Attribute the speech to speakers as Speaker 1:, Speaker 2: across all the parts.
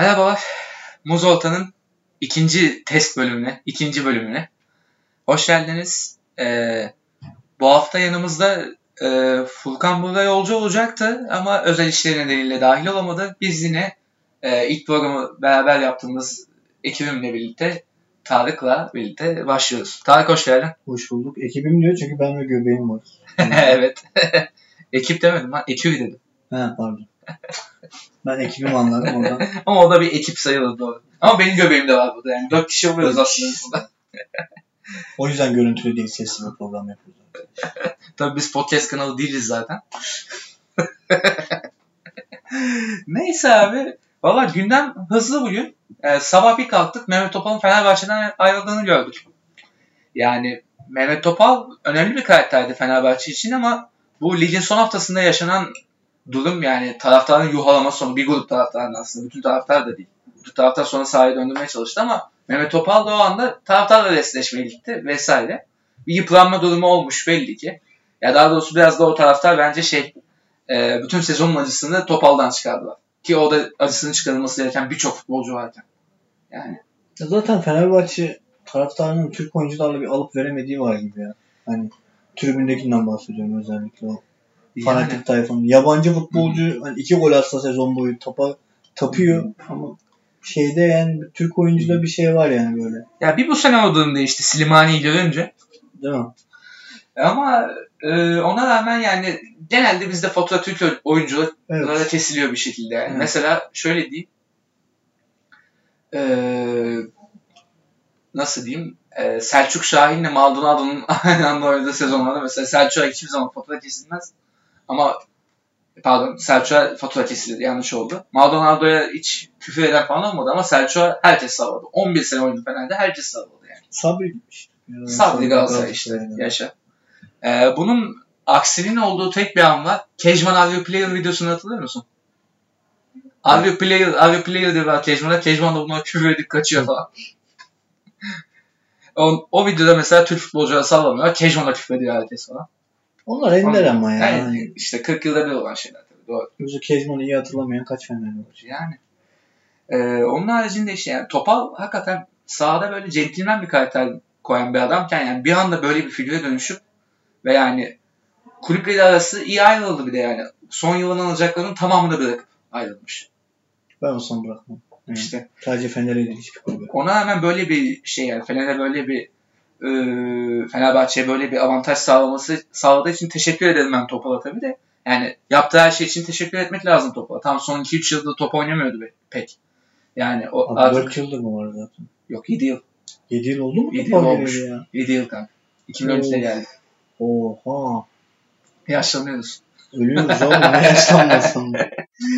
Speaker 1: Merhabalar. Muzolta'nın ikinci test bölümüne, ikinci bölümüne. Hoş geldiniz. Ee, bu hafta yanımızda e, Furkan Burra yolcu olacaktı ama özel işleri nedeniyle dahil olamadı. Biz yine e, ilk programı beraber yaptığımız ekibimle birlikte Tarık'la birlikte başlıyoruz. Tarık hoş geldin.
Speaker 2: Hoş bulduk. Ekibim diyor çünkü ben ve göbeğim var.
Speaker 1: evet. Ekip demedim ha, ekibi dedim.
Speaker 2: He pardon. Ben ekibim anladım oradan.
Speaker 1: Ama o da bir ekip sayılır doğru. Ama benim göbeğim de var burada yani. Dört kişi oluyoruz aslında burada.
Speaker 2: O yüzden görüntülü değil sesli bir program yapıyoruz.
Speaker 1: Tabii biz podcast kanalı değiliz zaten. Neyse abi. Valla gündem hızlı bugün. Ee, sabah bir kalktık Mehmet Topal'ın Fenerbahçe'den ayrıldığını gördük. Yani Mehmet Topal önemli bir karakterdi Fenerbahçe için ama bu ligin son haftasında yaşanan durum yani taraftarın yuhalama sonu bir grup taraftarın aslında bütün taraftar da değil. Bütün taraftar sonra sahaya döndürmeye çalıştı ama Mehmet Topal da o anda taraftarla resleşmeye gitti vesaire. Bir yıpranma durumu olmuş belli ki. Ya daha doğrusu biraz da o taraftar bence şey e, bütün sezonun acısını Topal'dan çıkardılar. Ki o da acısını çıkarılması gereken birçok futbolcu varken. Yani
Speaker 2: Ya zaten Fenerbahçe taraftarının Türk oyuncularla bir alıp veremediği var gibi ya. Hani tribündekinden bahsediyorum özellikle o fanatik
Speaker 1: yani
Speaker 2: tayfanın. Yabancı futbolcu hani iki gol atsa sezon boyu tapa, tapıyor ama şeyde yani Türk oyuncuda bir şey var yani böyle.
Speaker 1: ya bir bu sene o durum değişti Slimani'yi görünce.
Speaker 2: Değil mi?
Speaker 1: Ama e, ona rağmen yani genelde bizde fatura Türk oyunculara
Speaker 2: Evet.
Speaker 1: kesiliyor bir şekilde. Yani
Speaker 2: Evet.
Speaker 1: Mesela şöyle diyeyim. E, nasıl diyeyim? E, Selçuk Şahin'le Maldonado'nun aynı anda oynadığı sezonlarda mesela Selçuk'a hiçbir zaman fatura kesilmez. Ama pardon Selçuk'a fatura kesildi. Yanlış oldu. Maldonado'ya hiç küfür eden falan olmadı ama Selçuk'a herkes salladı. 11 sene oynadı Fener'de herkes salladı yani.
Speaker 2: Sabri işte.
Speaker 1: Sabri Galatasaray işte. Yaşa. Ee, bunun aksinin olduğu tek bir an var. Kejman Are You Player videosunu hatırlıyor musun? Are You Player, Are You Player diyorlar Kejman'a. Kejman da buna küfür edip kaçıyor falan. o, o videoda mesela Türk futbolculara sallamıyor. Kejman'a küfür ediyor herkes falan.
Speaker 2: Onlar ender ama ya. Yani.
Speaker 1: Yani işte 40 yılda bir olan şeyler tabii. Doğru.
Speaker 2: Özü Kezman'ı iyi hatırlamayan kaç Fenerli var?
Speaker 1: Yani. Ee, onun haricinde işte yani Topal hakikaten sahada böyle centilmen bir karakter koyan bir adamken yani bir anda böyle bir figüre dönüşüp ve yani kulüple arası iyi ayrıldı bir de yani. Son yılın alacaklarının tamamını bırakıp ayrılmış.
Speaker 2: Ben olsam bırakmam. Hı.
Speaker 1: İşte
Speaker 2: Sadece Fener'e değil hiçbir kulübe.
Speaker 1: ona rağmen böyle bir şey yani Fener'e böyle bir e, Fenerbahçe'ye böyle bir avantaj sağlaması sağladığı için teşekkür ederim ben Topal'a tabii de. Yani yaptığı her şey için teşekkür etmek lazım Topal'a. Tam son 2-3 yılda top oynamıyordu be- pek. Yani o
Speaker 2: Abi
Speaker 1: artık
Speaker 2: 4 yıldır mı var zaten?
Speaker 1: Yok 7 yıl.
Speaker 2: 7 yıl oldu mu?
Speaker 1: Yedi
Speaker 2: Kupon
Speaker 1: yıl
Speaker 2: geleli
Speaker 1: olmuş.
Speaker 2: Ya.
Speaker 1: 7 yıl kanka. 2013'te
Speaker 2: Oo.
Speaker 1: geldi.
Speaker 2: Oha.
Speaker 1: Yaşlanıyoruz.
Speaker 2: Ölüyoruz oğlum. Ne yaşlanmasın.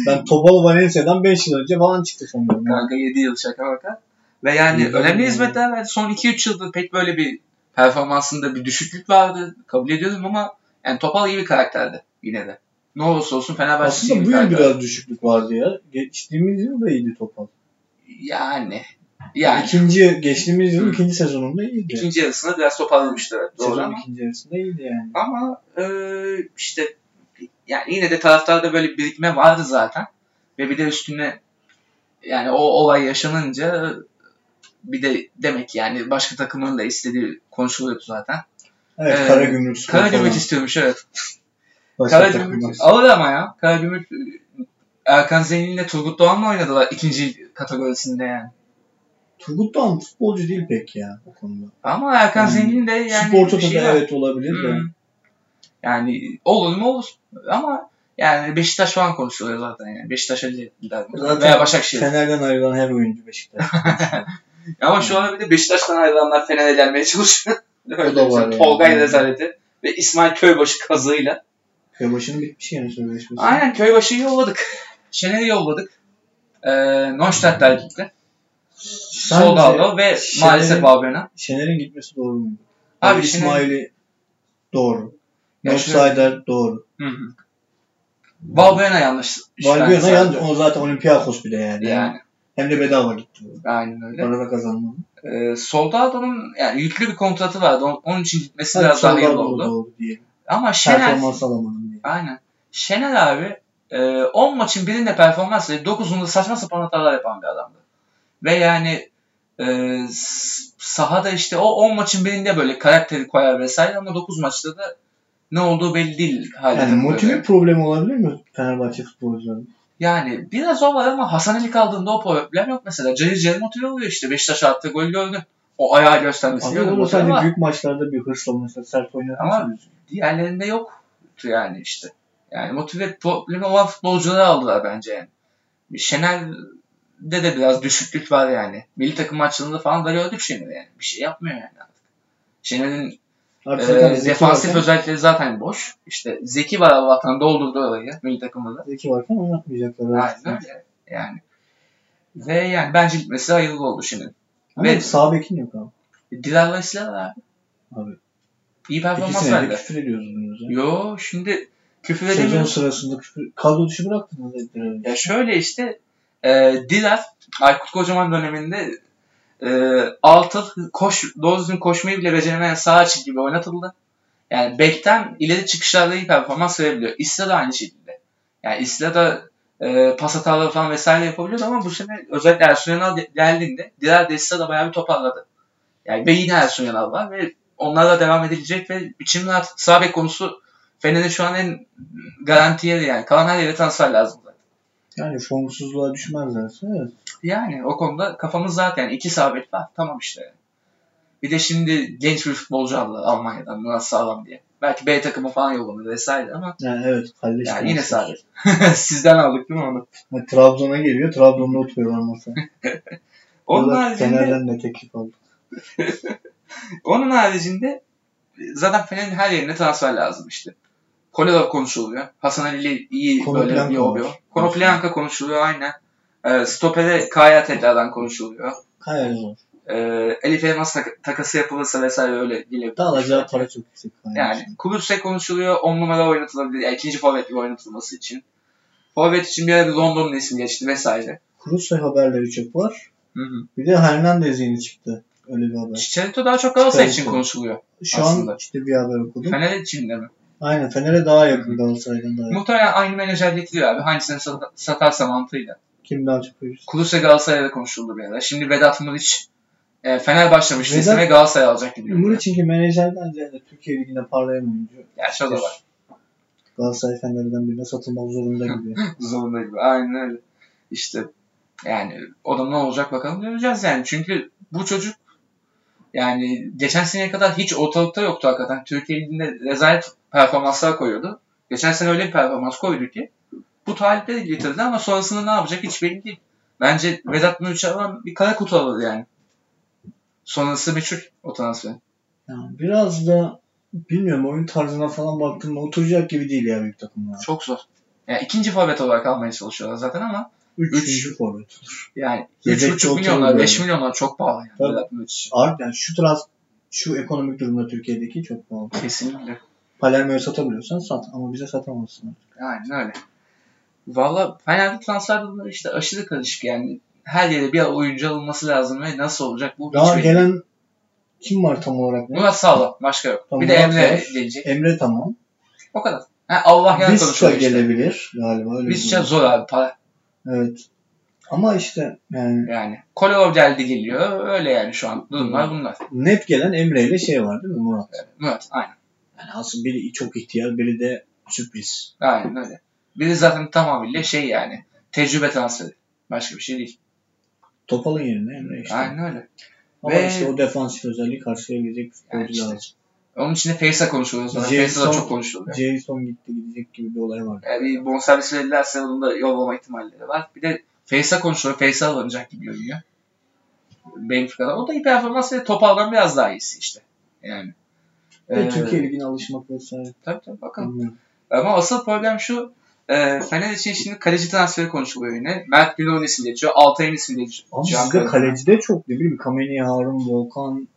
Speaker 2: Ben Topal Valencia'dan 5 yıl önce falan çıktı sanırım. ya.
Speaker 1: Kanka 7 yıl şaka baka. Ve yani
Speaker 2: Yedi
Speaker 1: önemli
Speaker 2: yıl.
Speaker 1: hizmetler verdi. Son 2-3 yılda pek böyle bir performansında bir düşüklük vardı. Kabul ediyorum ama yani Topal iyi bir karakterdi yine de. Ne olursa olsun Fenerbahçe iyi
Speaker 2: Aslında
Speaker 1: bir
Speaker 2: bu yıl
Speaker 1: karakter.
Speaker 2: biraz düşüklük vardı ya. Geçtiğimiz yıl da iyiydi Topal.
Speaker 1: Yani. Yani.
Speaker 2: İkinci, geçtiğimiz
Speaker 1: Hı.
Speaker 2: yıl ikinci sezonunda iyiydi.
Speaker 1: ikinci yarısında biraz toparlamıştı. evet, Doğru
Speaker 2: Sezon
Speaker 1: ama.
Speaker 2: ikinci yarısında iyiydi yani.
Speaker 1: Ama e, işte yani yine de taraftarda böyle bir birikme vardı zaten. Ve bir de üstüne yani o olay yaşanınca bir de demek ki yani başka takımın da istediği konuşuluyordu zaten.
Speaker 2: Evet,
Speaker 1: Ee,
Speaker 2: Karagümrük Spor
Speaker 1: Karagümrük
Speaker 2: falan.
Speaker 1: istiyormuş evet.
Speaker 2: Başka takımlar.
Speaker 1: Karagümrük alır ama ya. Karagümrük Erkan Zengin'le Turgut Doğan'la oynadılar ikinci kategorisinde yani.
Speaker 2: Turgut Doğan futbolcu değil pek ya bu konuda.
Speaker 1: Ama Erkan
Speaker 2: Hmm.
Speaker 1: Zengin de yani
Speaker 2: Sporta da
Speaker 1: şey var.
Speaker 2: evet olabilir de.
Speaker 1: Hmm. Yani olur mu olur. Ama yani Beşiktaş falan konuşuluyor zaten yani. Beşiktaş Ali
Speaker 2: Zaten
Speaker 1: veya Başakşehir.
Speaker 2: Şey, Fener'den ayrılan her oyuncu Beşiktaş.
Speaker 1: Ama şu an bir de Beşiktaş'tan ayrılanlar Fener'e gelmeye çalışıyor. Öyle
Speaker 2: O da
Speaker 1: bizim
Speaker 2: var yani.
Speaker 1: Tolgay rezaleti ve İsmail Köybaşı kazığıyla.
Speaker 2: Kıyamaşı'nın bitmiş yani sözleşmesi.
Speaker 1: Aynen Köybaşı'yı yolladık. Şener'i yolladık. Ee, Nonstadt'lar gitti.
Speaker 2: Sence
Speaker 1: Solgaldo ve
Speaker 2: Şener'in-
Speaker 1: maalesef Valbuena.
Speaker 2: Şener'in gitmesi doğru mu?
Speaker 1: Abi
Speaker 2: Abi İsmail'i doğru.
Speaker 1: Ya
Speaker 2: Nofsider doğru.
Speaker 1: Hı hı. Valbuena yanlış.
Speaker 2: Valbuena
Speaker 1: Yani
Speaker 2: yandı. O zaten Olympiakos bir de yani.
Speaker 1: Yani
Speaker 2: Hem de bedava gitti.
Speaker 1: aynen öyle.
Speaker 2: Para da kazandı.
Speaker 1: Ee, Soldado'nun yani yüklü bir kontratı vardı. On- Onun için gitmesi
Speaker 2: Hadi
Speaker 1: biraz daha hayırlı
Speaker 2: Solgaldo da
Speaker 1: oldu.
Speaker 2: doğru diyelim.
Speaker 1: Ama Şener
Speaker 2: Performans alamadım diye.
Speaker 1: aynen. Şener abi e, Ee, 10 maçın birinde performans verip 9'unda saçma sapan hatalar yapan bir adamdı. Ve yani e, s- sahada işte o 10 maçın birinde böyle karakteri koyar vesaire ama 9 maçta da ne olduğu belli değil. hale
Speaker 2: Yani
Speaker 1: takılıyor.
Speaker 2: motive problemi olabilir mi Fenerbahçe futbolcularının?
Speaker 1: Yani biraz o var ama Hasan Ali kaldığında o problem yok mesela. Cahil Cahil motive oluyor işte. Beşiktaş attığı gol gördü. O ayağı göstermesi
Speaker 2: Aslında
Speaker 1: gördü.
Speaker 2: o da
Speaker 1: motive
Speaker 2: sadece
Speaker 1: ama
Speaker 2: büyük maçlarda bir hırsla mesela sert
Speaker 1: Ama-
Speaker 2: oynatmışsınız.
Speaker 1: diğerlerinde yoktu yani işte. Yani motive problemi olan futbolcuları aldılar bence yani. Şener'de de biraz düşüklük var yani. Milli takım maçlarında falan da gördük Şener'i yani. Bir şey yapmıyor yani artık. Şener'in
Speaker 2: Artık
Speaker 1: e,
Speaker 2: zaten Zeki
Speaker 1: defansif
Speaker 2: varken,
Speaker 1: özellikleri zaten boş. İşte Zeki var Allah'tan doldurdu orayı milli takımda da.
Speaker 2: Zeki varken oynatmayacaklar.
Speaker 1: Aynen öyle. Yani. Ve yani bence gitmesi hayırlı oldu E, şimdi.
Speaker 2: Ama
Speaker 1: Ve-
Speaker 2: sağ bekin yok abi.
Speaker 1: Dilarla Silah abi.
Speaker 2: Abi.
Speaker 1: İyi
Speaker 2: İki
Speaker 1: performans
Speaker 2: senedir
Speaker 1: verdi.
Speaker 2: küfür ediyoruz bunumuza.
Speaker 1: Yo şimdi küfür
Speaker 2: Sezon
Speaker 1: edemiyoruz.
Speaker 2: sırasında küfür... Kadro dışı bıraktınız dediler.
Speaker 1: Ya şöyle işte e, Dilar Aykut Kocaman döneminde e, altı koş, doğru düzgün koşmayı bile beceremeyen sağ açık gibi oynatıldı. Yani bekten ileri çıkışlarda iyi performans verebiliyor. İsla da aynı şekilde. Yani İsla da e, pas hataları falan vesaire yapabiliyordu ama bu sene özellikle Ersun Yanal de- geldiğinde Dilar de İsla da bayağı bir toparladı. Yani ve yine Ersun Yanal var ve onlarla devam edilecek ve biçimli artık sağ bek konusu Fener'in şu an en garanti yeri yani. Kalan her yere transfer lazım.
Speaker 2: Yani formsuzluğa düşmezlerse evet.
Speaker 1: Yani o konuda kafamız zaten iki sabit var. Tamam işte. Bir de şimdi genç bir futbolcu aldı Almanya'dan Murat Sağlam diye. Belki B takımı falan yollanır vesaire ama
Speaker 2: Yani evet kalleş.
Speaker 1: yani
Speaker 2: transfer.
Speaker 1: yine sabit. Sizden aldık değil mi onu?
Speaker 2: Ha, Trabzon'a geliyor. Trabzon'da oturuyorlar masaya.
Speaker 1: Onun
Speaker 2: Ya da
Speaker 1: haricinde,
Speaker 2: Fener'den de teklif aldı.
Speaker 1: onun haricinde zaten Fener'in her yerine transfer lazım işte. Koledov konuşuluyor. Hasan Ali iyi böyle bir
Speaker 2: Konoplanka
Speaker 1: oluyor.
Speaker 2: var.
Speaker 1: Konoplanka konuşuluyor aynen. Ee, Stopere Kaya tekrardan konuşuluyor.
Speaker 2: Hayır zor.
Speaker 1: Ee, Elif Elmas tak- takası yapılırsa vesaire öyle gelebilir.
Speaker 2: Daha alacağı para çok yüksek. Aynen.
Speaker 1: Yani Kulüpse konuşuluyor. 10 numara oynatılabilir. Yani ikinci forvet gibi oynatılması için. Forvet için bir ara bir London'un ismi geçti vesaire.
Speaker 2: Kruse haberleri çok var. Bir de Hernandez yeni çıktı. Öyle bir haber.
Speaker 1: Chicharito daha çok Galatasaray
Speaker 2: Chicharito.
Speaker 1: için konuşuluyor.
Speaker 2: Şu
Speaker 1: Aslında.
Speaker 2: an işte bir haber okudum.
Speaker 1: Fener için de mi?
Speaker 2: Aynen Fener'e daha yakın Galatasaray'dan daha yakın.
Speaker 1: Muhtemelen aynı menajer getiriyor abi. Hangisini sat- satarsa mantığıyla.
Speaker 2: Kim daha çok uyuz?
Speaker 1: Kulüse Galatasaray'da konuşuldu bir ara. Şimdi Vedat Muriç e, Fener başlamış
Speaker 2: Vedat-
Speaker 1: listeme Galatasaray alacak gibi.
Speaker 2: Umur
Speaker 1: görünüyor.
Speaker 2: için menajerden ziyade Türkiye Ligi'nde parlayan oyuncu.
Speaker 1: Gerçi o da var.
Speaker 2: Galatasaray Fener'den birine satılmak zorunda gibi.
Speaker 1: Zorunda gibi. Aynen öyle. İşte yani o da ne olacak bakalım göreceğiz yani. Çünkü bu çocuk yani geçen seneye kadar hiç ortalıkta yoktu hakikaten. Türkiye Ligi'nde rezalet performanslar koyuyordu. Geçen sene öyle bir performans koydu ki bu talipleri getirdi ama sonrasında ne yapacak hiç belli değil. Bence Vedat Muriç'e alan bir kara kutu alır yani. Sonrası meçhul o transfer.
Speaker 2: Yani biraz da bilmiyorum oyun tarzına falan baktığımda oturacak gibi değil ya büyük takımlar.
Speaker 1: Çok zor. Yani ikinci forvet olarak almaya çalışıyorlar zaten ama
Speaker 2: Üçüncü forvet.
Speaker 1: yani
Speaker 2: Yedekte
Speaker 1: 3,5
Speaker 2: oturuyor
Speaker 1: milyonlar,
Speaker 2: yani.
Speaker 1: 5 milyonlar çok pahalı yani
Speaker 2: Tabii.
Speaker 1: Vedat Muriç için.
Speaker 2: Abi yani şu trans şu ekonomik durumda Türkiye'deki çok pahalı.
Speaker 1: Kesinlikle.
Speaker 2: Palermo'ya satabiliyorsan sat ama bize satamazsın.
Speaker 1: Aynen öyle. Valla Fener'de transfer durumları işte aşırı karışık yani. Her yere bir oyuncu alınması lazım ve nasıl olacak bu
Speaker 2: Daha
Speaker 1: hiç belli değil.
Speaker 2: gelen kim var tam olarak? Ne?
Speaker 1: Murat Sağlam başka yok.
Speaker 2: Tamam,
Speaker 1: bir de
Speaker 2: Murat
Speaker 1: Emre
Speaker 2: var.
Speaker 1: gelecek.
Speaker 2: Emre tamam.
Speaker 1: O kadar. Ha, Allah yan
Speaker 2: Vizca
Speaker 1: konuşuyor işte.
Speaker 2: gelebilir galiba. Öyle bir
Speaker 1: Vizca zor abi para
Speaker 2: Evet. Ama işte yani
Speaker 1: yani. Kolarov geldi geliyor öyle yani şu an durumlar bunlar.
Speaker 2: net gelen Emre ile şey var değil mi Murat?
Speaker 1: Murat aynen.
Speaker 2: Yani aslında biri çok ihtiyar, biri de sürpriz.
Speaker 1: Aynen öyle. Biri zaten tamamıyla şey yani tecrübe transferi. Başka bir şey değil.
Speaker 2: Topal'ın yerine Emre işte.
Speaker 1: Aynen öyle.
Speaker 2: Ama
Speaker 1: Ve-
Speaker 2: işte o defansif özelliği karşılayabilecek bir futbolcu
Speaker 1: Yani işte.
Speaker 2: lazım.
Speaker 1: Onun için de Feysa konuşuyoruz. zaten.
Speaker 2: Jason-
Speaker 1: Feysa da çok konuşuluyor.
Speaker 2: Jason gitti gidecek gibi bir olay var.
Speaker 1: Yani bir bonservis verirlerse onun da yollama ihtimalleri var. Bir de Face'a konuşuyor. Face'a alınacak gibi görünüyor. Benfica'da. O da iyi performans ve Topal'dan biraz daha iyisi işte. Yani.
Speaker 2: Ve
Speaker 1: Ee,
Speaker 2: Türkiye Ligi'ne alışmak vesaire.
Speaker 1: Tabii tabii bakalım.
Speaker 2: Bilmiyorum.
Speaker 1: Ama asıl problem şu. E, Fener için şimdi kaleci transferi konuşuluyor yine. Mert Günok'un ismi geçiyor. Altay'ın ismi geçiyor.
Speaker 2: Ama sizde kaleci de çok ne bileyim. Kameni, Harun, Volkan,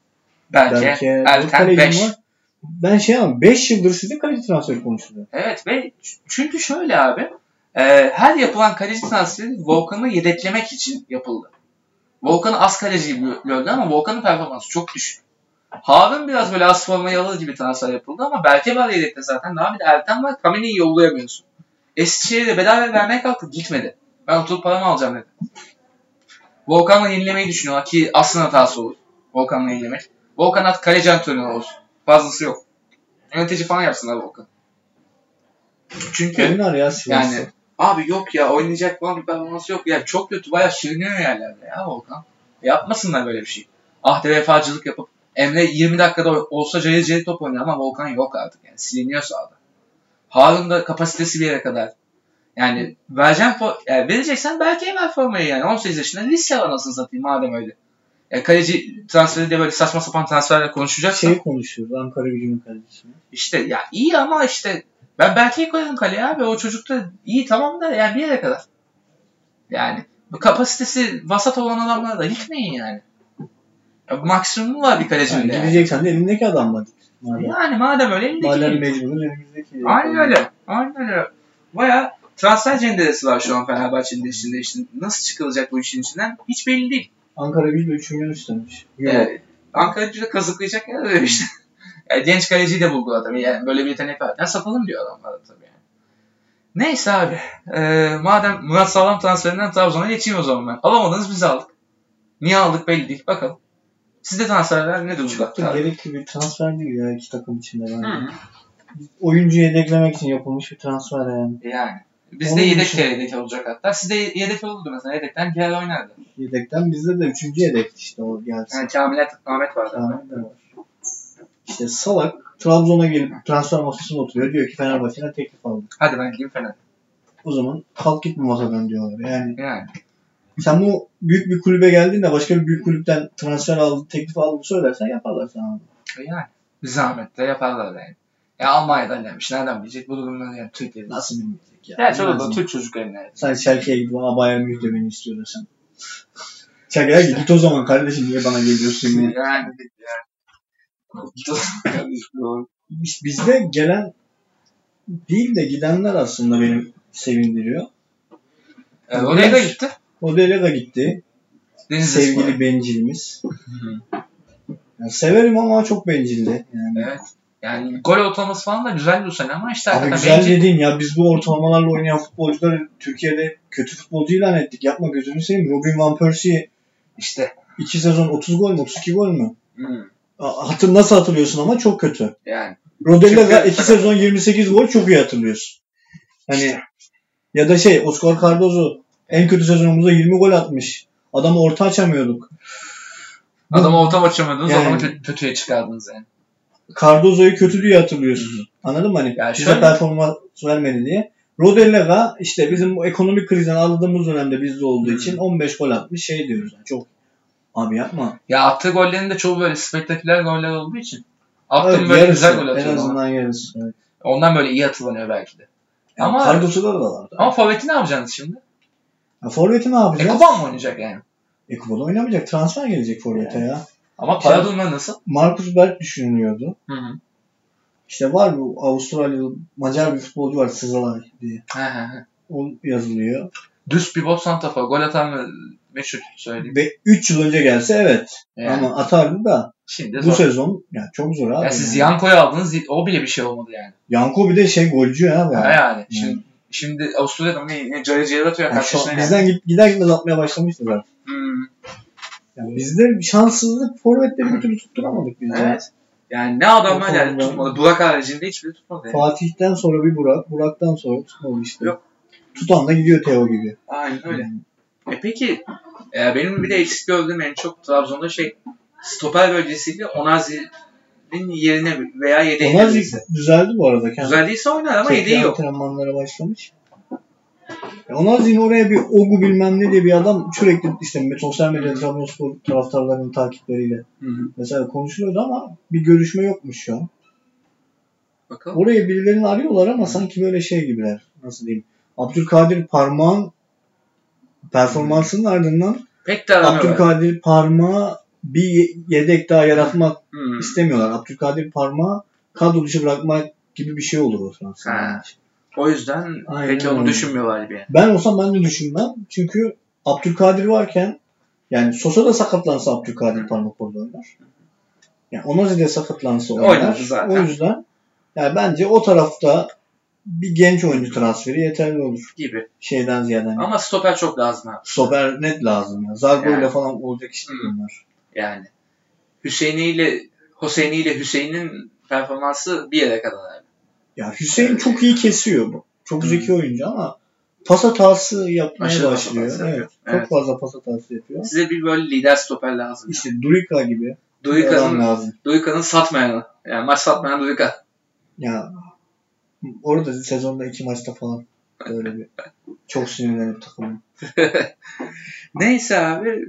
Speaker 1: Belki.
Speaker 2: Berke. dört
Speaker 1: Erten
Speaker 2: kaleci
Speaker 1: 5.
Speaker 2: var. Ben şey ama 5 yıldır sizde kaleci transferi konuşuluyor.
Speaker 1: Evet ve ç- çünkü şöyle abi e, her yapılan kaleci transferi Volkan'ı yedeklemek için yapıldı. Volkan'ı az kaleci gibi gördü ama Volkan'ın performansı çok düşük. Harun biraz böyle az formayı alır gibi transfer yapıldı ama Berke var yedekte zaten. Daha bir de Ertem var. Kameni'yi yollayamıyorsun. Eskişehir'e bedava vermeye kalktı. Gitmedi. Ben oturup paramı alacağım dedi. Volkan'la yenilemeyi düşünüyorlar ki aslında hatası olur. Volkan'la yenilemek. Volkan artık kaleci antrenörü olsun. Fazlası yok. Yönetici falan yapsınlar Volkan. Çünkü
Speaker 2: Oynar ya Sivas'ta.
Speaker 1: yani abi yok ya oynayacak falan bir performansı yok. Ya çok kötü bayağı sürünüyor yerlerde ya Volkan. Yapmasınlar böyle bir şey. Ahde vefacılık yapıp Emre 20 dakikada olsa cayır cayır top oynuyor ama Volkan yok artık. Yani siliniyor sahada. Harun da kapasitesi bir yere kadar. Yani vereceğim for- yani vereceksen belki hemen formayı yani 18 yaşında lise var anasını satayım madem öyle. Ya kaleci transferi de böyle saçma sapan transferler konuşacaksan
Speaker 2: Şey konuşuyoruz Ankara gücünün kalecisi.
Speaker 1: işte ya iyi ama işte ben Berke'yi koyarım kaleye abi. O çocuk da iyi tamam da yani bir yere kadar. Yani bu kapasitesi vasat olan adamlara da gitmeyin yani. Ya, maksimum var bir kalecinin
Speaker 2: Yani
Speaker 1: de. Yani.
Speaker 2: gideceksen de elindeki adamla git. Madem,
Speaker 1: yani madem öyle elindeki.
Speaker 2: madem mecburun elimizdeki.
Speaker 1: Aynen öyle. Aynen öyle. Baya transfer cenderesi var şu an Fenerbahçe'nin içinde. İşte nasıl çıkılacak bu işin içinden hiç belli değil.
Speaker 2: Ankara gücü 3 milyon istemiş. Euro.
Speaker 1: Ee, Ankara Gücü'de kazıklayacak yer arıyor işte. Yani genç kaleciyi de buldular tabii. Yani böyle bir yetenek var. Ya sapalım diyor adamlar da tabii yani. Neyse abi. Ee, madem Murat Sağlam transferinden Trabzon'a geçeyim o zaman ben. Alamadınız biz aldık. Niye aldık belli değil. Bakalım. Sizde transferler ne durumda?
Speaker 2: Çok da gerekli bir transfer değil ya iki takım içinde bence.
Speaker 1: Hı,
Speaker 2: Oyuncu yedeklemek için yapılmış bir transfer yani.
Speaker 1: Yani. Bizde
Speaker 2: Onun
Speaker 1: yedek
Speaker 2: dışında-
Speaker 1: yedek olacak hatta. Sizde yedek olurdu mesela. Yedekten Bilal oynardı.
Speaker 2: Yedekten bizde de üçüncü yedek işte o gelsin.
Speaker 1: Yani Kamil Atatürk, Ahmet vardı.
Speaker 2: Ahmet de var. İşte salak Trabzon'a gelip transfer masasına oturuyor. Diyor ki Fenerbahçe'den teklif aldık.
Speaker 1: Hadi ben gideyim falan.
Speaker 2: O zaman kalk git bu masadan diyorlar. Yani
Speaker 1: Yani.
Speaker 2: sen bu büyük bir kulübe geldin de başka bir büyük kulüpten transfer aldı, teklif aldığını söylersen yaparlar sana.
Speaker 1: Yani. Zahmet de yaparlar yani. Ya Almanya'dan gelmiş. Nereden bilecek bu durumları yani Türkiye'de.
Speaker 2: Nasıl bilmeyecek ya?
Speaker 1: Ya şöyle
Speaker 2: Bilmez
Speaker 1: da
Speaker 2: mi?
Speaker 1: Türk çocuklarına.
Speaker 2: Sen Schalke'ye gidip aa Bayern Münih de beni istiyor desen. Schalke'ye git, git o zaman kardeşim niye bana geliyorsun ya?
Speaker 1: Yani. yani.
Speaker 2: Biz- Bizde gelen değil de gidenler aslında benim sevindiriyor.
Speaker 1: E, oraya da gitti.
Speaker 2: O da gitti.
Speaker 1: Deniz
Speaker 2: Sevgili
Speaker 1: Sevgili.
Speaker 2: bencilimiz. Yani severim ama çok bencildi. Yani.
Speaker 1: Evet. Yani gol ortalaması falan da güzel bu sene ama işte
Speaker 2: Abi
Speaker 1: hakikaten
Speaker 2: güzel
Speaker 1: bence-
Speaker 2: dediğin ya biz bu ortalamalarla oynayan futbolcuları Türkiye'de kötü futbolcu ilan ettik. Yapma gözünü seveyim. Robin Van Persie
Speaker 1: işte.
Speaker 2: 2 sezon 30 gol mü 32 gol mü?
Speaker 1: Hı,
Speaker 2: A- Hatır nasıl hatırlıyorsun ama çok kötü.
Speaker 1: Hmm. Yani.
Speaker 2: Rodella
Speaker 1: Çünkü-
Speaker 2: 2 sezon 28 gol çok iyi hatırlıyorsun. Hani ya da şey Oscar Cardozo en kötü sezonumuzda 20 gol atmış. Adamı orta açamıyorduk. Bu-
Speaker 1: Adama ortam açamadınız,
Speaker 2: Yani.
Speaker 1: adamı kö- kötüye çıkardınız yani.
Speaker 2: Cardozo'yu kötü diye hatırlıyorsun. Anladın mı? Hani
Speaker 1: Ya
Speaker 2: bize
Speaker 1: şöyle-
Speaker 2: performans vermedi diye. Rodellera işte bizim bu ekonomik krizden aldığımız dönemde bizde olduğu
Speaker 1: Hı.
Speaker 2: için 15 gol atmış şey diyoruz. Yani çok abi yapma.
Speaker 1: Ya attığı gollerin de çoğu böyle spektaküler goller olduğu için. Attım
Speaker 2: Evet,
Speaker 1: böyle
Speaker 2: yarısı,
Speaker 1: güzel gol
Speaker 2: En
Speaker 1: atıyor. ama.
Speaker 2: azından yarısı. Evet.
Speaker 1: Ondan böyle iyi hatırlanıyor belki de.
Speaker 2: Yani
Speaker 1: Ama-
Speaker 2: Cardozo'da da var.
Speaker 1: Ama forveti ne yapacaksınız şimdi?
Speaker 2: Ya, Forvet'i ne
Speaker 1: E,
Speaker 2: yapacağız?
Speaker 1: Kuban mı oynayacak yani?
Speaker 2: Ekuban oynamayacak. Transfer gelecek Forvet'e ya.
Speaker 1: Ama para
Speaker 2: Şey-
Speaker 1: durumları nasıl?
Speaker 2: Markus Berg düşünülüyordu.
Speaker 1: Hı hı.
Speaker 2: İşte var bu Avustralyalı Macar bir futbolcu var Sızalay diye.
Speaker 1: Hı hı hı.
Speaker 2: O yazılıyor.
Speaker 1: Düz pivot santrafor. Gol atan ve meşhur söyleyeyim.
Speaker 2: Ve 3 yıl önce gelse evet.
Speaker 1: Yani
Speaker 2: Ama atardı da
Speaker 1: şimdi
Speaker 2: bu
Speaker 1: zor.
Speaker 2: sezon ya çok zor abi.
Speaker 1: Ya siz Yanko'yu aldınız o bile bir şey olmadı yani.
Speaker 2: Yanko bir de şey golcü ya.
Speaker 1: Ha
Speaker 2: bayağı.
Speaker 1: yani. Şimdi, şimdi Avusturya'da mı ne? ne Cari Cari atıyor ya
Speaker 2: Yani
Speaker 1: kaç
Speaker 2: şu,
Speaker 1: yaşına yani.
Speaker 2: bizden git, gider gitmez atmaya başlamıştı zaten.
Speaker 1: Hmm,
Speaker 2: Yani bizde bir şanssızlık forvette bir türlü tutturamadık biz. ya.
Speaker 1: evet. Yani ne adamlar
Speaker 2: Yok,
Speaker 1: yani
Speaker 2: olmadı.
Speaker 1: tutmadı. Burak haricinde hiçbiri tutmadı. Yani.
Speaker 2: Fatih'ten sonra bir Burak, Burak'tan sonra tutmadı işte.
Speaker 1: Yok.
Speaker 2: Tutan da gidiyor Teo gibi.
Speaker 1: Aynen öyle. E peki e, benim bir de eksik gördüğüm en çok Trabzon'da şey stoper bölgesiyle Onazi'nin yerine veya yedeğine
Speaker 2: Onlar
Speaker 1: verirse.
Speaker 2: düzeldi bu arada. Kendi
Speaker 1: Güzel değilse oynar ama
Speaker 2: Tekrar
Speaker 1: yedeği yok.
Speaker 2: Antrenmanlara Şey, başlamış. E, Onazin oraya bir Ogu bilmem ne diye bir adam sürekli işte sosyal medya Trabzonspor taraftarlarının takipçileriyle
Speaker 1: Hı hı.
Speaker 2: mesela konuşuluyordu ama bir görüşme yokmuş şu an.
Speaker 1: Bakalım.
Speaker 2: Oraya birilerini arıyorlar ama sanki böyle şey gibiler. Nasıl diyeyim? Abdülkadir Parmağ'ın performansının ardından
Speaker 1: Pek de aramıyorlar.
Speaker 2: Abdülkadir Parmağı bir ye- yedek daha yaratmak
Speaker 1: Hmm.
Speaker 2: istemiyorlar. Abdülkadir Parmağı kadro dışı bırakmak gibi bir şey olur o transfer.
Speaker 1: Ha. O yüzden
Speaker 2: Aynen
Speaker 1: peki onu
Speaker 2: öyle.
Speaker 1: düşünmüyorlar gibi. yani.
Speaker 2: Ben olsam ben de düşünmem. Çünkü Abdülkadir varken yani Sosa da sakatlansa Abdülkadir parmak orada oynar. Yani Onazi de sakatlansa oynar.
Speaker 1: Oynadı zaten.
Speaker 2: O yüzden yani bence o tarafta bir genç oyuncu transferi yeterli olur.
Speaker 1: gibi.
Speaker 2: Şeyden ziyade. hani
Speaker 1: Ama stoper çok lazım abi.
Speaker 2: Stoper net lazım ya. Zargo ile
Speaker 1: Yani.
Speaker 2: falan olacak iş değil
Speaker 1: Hı.
Speaker 2: bunlar.
Speaker 1: Yani Hüseyin'i ile Hüseyin'i ile Hüseyin'in performansı bir yere kadar abi.
Speaker 2: Ya Hüseyin çok iyi kesiyor bu. Çok
Speaker 1: Hı.
Speaker 2: zeki oyuncu ama pas hatası yapmaya
Speaker 1: Hmm. Aşırı pas
Speaker 2: başlıyor.
Speaker 1: hatası
Speaker 2: evet.
Speaker 1: yapıyor.
Speaker 2: Çok
Speaker 1: Evet.
Speaker 2: fazla pas hatası yapıyor.
Speaker 1: Size bir böyle lider stoper lazım.
Speaker 2: İşte Durika gibi bir adam
Speaker 1: Duyuka'nın
Speaker 2: lazım.
Speaker 1: Duyuka'nın satmayanı. Yani maç satmayan Duyuka.
Speaker 2: Ya orada sezonda iki maçta falan böyle bir çok sinirlenip takımım.
Speaker 1: Neyse abi.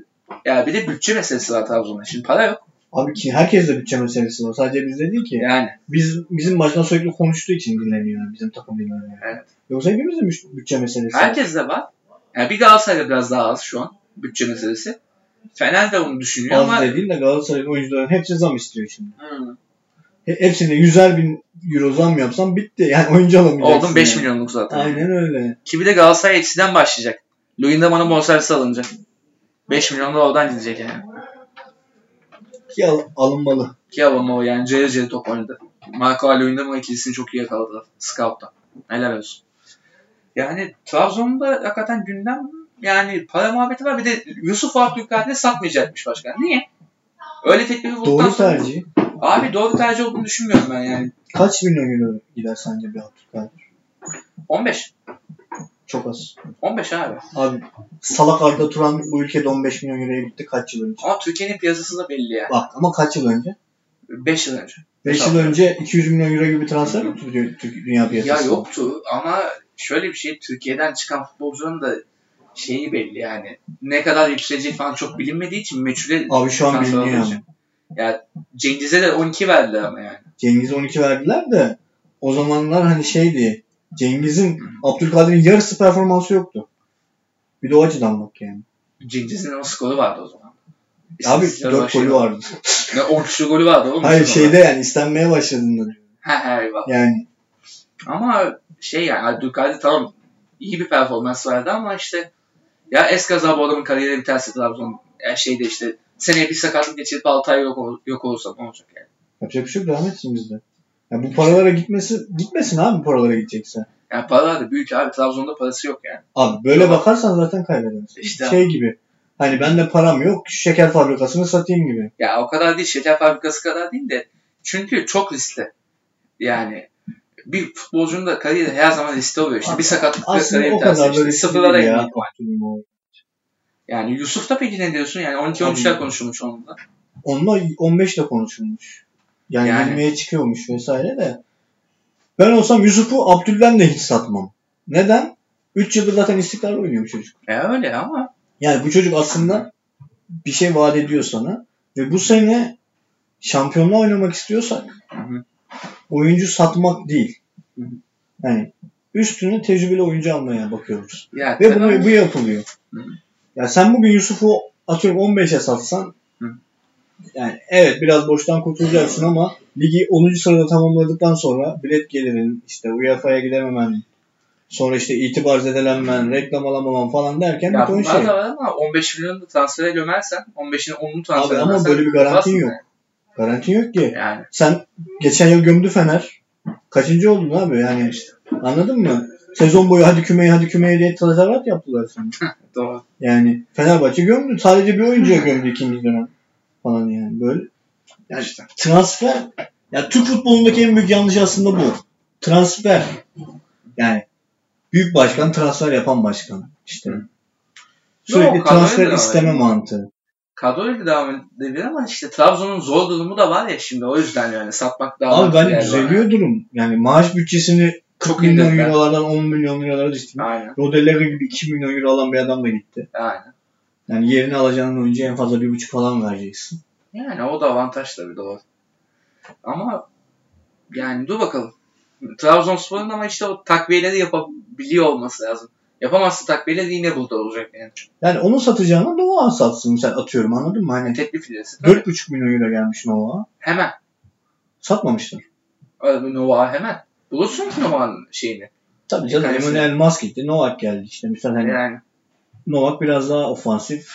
Speaker 1: Ya bir de bütçe meselesi var Trabzon'da. Şimdi para yok.
Speaker 2: Abi ki herkes de bütçe meselesi var. Sadece bizde değil ki.
Speaker 1: Yani
Speaker 2: Biz bizim baştan sürekli konuştuğu için dinleniyor yani bizim takım dinleniyor.
Speaker 1: Evet.
Speaker 2: Yoksa hepimizin müş- bütçe meselesi. var.
Speaker 1: herkes de var. Yani bir Galatasaray'da biraz daha az şu an bütçe meselesi. Fener de onu düşünüyor
Speaker 2: Az
Speaker 1: ama
Speaker 2: değil de Galatasaray'ın oyuncuların hepsi zam istiyor şimdi.
Speaker 1: Hı.
Speaker 2: He, hepsine yüzer bin euro zam yapsam bitti. Yani oyuncu alamayacaksın.
Speaker 1: oldum 5
Speaker 2: yani.
Speaker 1: milyonluk zaten.
Speaker 2: Aynen öyle.
Speaker 1: Ki bir de Galatasaray eksiden başlayacak. Luyendama'nın bonservisi alınacak. 5 milyon da oradan gidecek yani.
Speaker 2: Ki al- alınmalı.
Speaker 1: Ki ama o yani cayır cayır top oynadı. Marco ile Luyendama ikilisini çok iyi yakaladılar. Scout'ta. Helal olsun. Yani Trabzon'da hakikaten gündem yani para muhabbeti var. Bir de Yusuf Abdülkadir'i satmayacakmış başkan. Niye? Öyle teklifi bulduktan
Speaker 2: Doğru
Speaker 1: sonra...
Speaker 2: tercih.
Speaker 1: Abi doğru tercih olduğunu düşünmüyorum ben yani.
Speaker 2: Kaç milyon euro gider sence bir Abdülkadir?
Speaker 1: 15.
Speaker 2: Çok az.
Speaker 1: 15 abi.
Speaker 2: Abi salak Arda Turan bu ülkede 15 milyon euroya gitti kaç yıl önce?
Speaker 1: Ama Türkiye'nin piyasası da belli yani.
Speaker 2: Bak ama kaç yıl önce?
Speaker 1: 5 yıl önce.
Speaker 2: 5 yıl
Speaker 1: Tabii.
Speaker 2: önce 200 milyon euro gibi transfer mi tutuyor Türk dünya
Speaker 1: Ya
Speaker 2: piyasasında?
Speaker 1: yoktu ama şöyle bir şey Türkiye'den çıkan futbolcuların da şeyi belli yani. Ne kadar yükseleceği falan çok bilinmediği için meçhule
Speaker 2: Abi şu an
Speaker 1: transfer
Speaker 2: biliniyor.
Speaker 1: olduğu
Speaker 2: yani.
Speaker 1: için. Ya Cengiz'e de 12 verdiler ama yani.
Speaker 2: Cengiz'e 12 verdiler de o zamanlar hani şeydi Cengiz'in Abdülkadir'in yarısı performansı yoktu. Bir de o açıdan bak yani.
Speaker 1: Cengiz'in o skoru vardı o zaman.
Speaker 2: Abi
Speaker 1: İstatistikler
Speaker 2: 4
Speaker 1: başlıyor.
Speaker 2: golü vardı.
Speaker 1: Ne 10 küsur golü vardı oğlum.
Speaker 2: Hayır
Speaker 1: Sonra.
Speaker 2: şeyde yani istenmeye başladığında diyor.
Speaker 1: He he eyvallah.
Speaker 2: Yani
Speaker 1: Ama şey yani Abdülkadir tamam iyi bir performans verdi ama işte ya Eskazabı adamın kariyeri biterse Trabzon ya şeyde işte seneye bir sakatlık geçirip 6 ay yok, ol- yok olursa ne olacak yani.
Speaker 2: yapacak bir şey yok devam etsin bizde. Ya bu paralara gitmesi gitmesin abi bu paralara gidecekse.
Speaker 1: Yani paralar da büyük abi. Trabzon'da parası yok yani.
Speaker 2: Abi böyle bakarsan zaten kaybedersin.
Speaker 1: İşte
Speaker 2: Şey gibi. Hani ben de param yok şu şeker fabrikasını satayım gibi.
Speaker 1: ya o kadar değil. Şeker fabrikası kadar değil de. Çünkü çok riskli. Yani bir futbolcunun da kariyeri her zaman riskli oluyor. İşte bir sakatlıkla
Speaker 2: Aslında
Speaker 1: kariyer
Speaker 2: o kadar
Speaker 1: tersi.
Speaker 2: da
Speaker 1: İşte
Speaker 2: riskli
Speaker 1: sıfırlara
Speaker 2: değil ya.
Speaker 1: inmek var. Yani Yusuf'ta peki ne diyorsun? Yani 12-13'ler
Speaker 2: Abi-
Speaker 1: konuşulmuş onunla.
Speaker 2: Onunla 15 de konuşulmuş. Yani,
Speaker 1: Yani.
Speaker 2: 20'ye çıkıyormuş vesaire de. Ben olsam Yusuf'u Abdül'den de hiç satmam. Neden? 3 yıldır zaten istikrar oynuyor bu çocuk.
Speaker 1: E öyle ama
Speaker 2: Yani bu çocuk aslında bir şey vaat ediyor sana. Ve bu sene şampiyonla oynamak istiyorsak
Speaker 1: Hı hı.
Speaker 2: oyuncu satmak değil.
Speaker 1: Hı hı.
Speaker 2: Yani üstüne tecrübeli oyuncu almaya bakıyoruz.
Speaker 1: ya
Speaker 2: Ve
Speaker 1: tamam.
Speaker 2: bunu, bu yapılıyor.
Speaker 1: Hı hı.
Speaker 2: Ya sen bugün Yusuf'u atıyorum 15'e satsan
Speaker 1: Hı.
Speaker 2: yani evet biraz boştan kurtulacaksın ama ligi 10. sırada tamamladıktan sonra bilet gelirin işte UEFA'ya gidememen sonra işte itibar zedelenmen, reklam alamaman falan derken bir
Speaker 1: ya
Speaker 2: ton
Speaker 1: bunlar
Speaker 2: şey.
Speaker 1: da var ama 15 milyonu da transfere gömersen 15'ini 10'unu transfere
Speaker 2: Abi ama
Speaker 1: gömersen
Speaker 2: böyle bir garantin
Speaker 1: kurtarsın
Speaker 2: yok. Garanti yok ki.
Speaker 1: Yani. yani.
Speaker 2: Sen geçen yıl gömdü Fener. Kaçıncı oldun abi yani anladın mı? Sezon boyu hadi kümeye hadi kümeye diye tazarlat yaptılar sana.
Speaker 1: Doğru.
Speaker 2: Yani Fenerbahçe gömdü. Sadece bir oyuncuya gömdü ikinci dönem falan yani böyle.
Speaker 1: Ya işte.
Speaker 2: transfer ya Türk futbolundaki en büyük yanlış aslında bu. Transfer. Yani büyük başkan transfer yapan başkan işte. Sürekli
Speaker 1: Yok,
Speaker 2: transfer
Speaker 1: kadroyla
Speaker 2: isteme
Speaker 1: yani.
Speaker 2: mantığı.
Speaker 1: Kadroyla da devam edebilir ama işte Trabzon'un zor durumu da var ya şimdi o yüzden yani satmak daha
Speaker 2: Abi
Speaker 1: mantıklı
Speaker 2: ben
Speaker 1: yani.
Speaker 2: düzeliyor durum. Yani maaş bütçesini 40
Speaker 1: Çok
Speaker 2: milyon
Speaker 1: indirdi.
Speaker 2: eurolardan 10 milyon eurolara düştü.
Speaker 1: Aynen.
Speaker 2: Rodelero gibi 2 milyon euro alan bir adam da gitti.
Speaker 1: Aynen.
Speaker 2: Yani yerini alacağın oyuncu en fazla 1,5 falan vereceksin.
Speaker 1: Yani o da avantaj tabii doğru. Ama yani dur bakalım. Trabzonspor'un ama işte o takviyeleri yapabiliyor olması lazım. Yapamazsa takviyeleri yine burada olacak yani.
Speaker 2: Yani onu satacağına Doğan satsın. Sen atıyorum anladın mı? Hani
Speaker 1: Teklif ilerisi.
Speaker 2: 4,5 milyon euro gelmiş Nova.
Speaker 1: Hemen.
Speaker 2: Satmamışlar.
Speaker 1: Öyle bir Nova hemen. Bulursun ki Nova'nın şeyini.
Speaker 2: Tabii canım
Speaker 1: Kalesi.
Speaker 2: Emmanuel Musk gitti. Novak geldi işte. Mesela hani
Speaker 1: Yani.
Speaker 2: Novak biraz daha ofansif.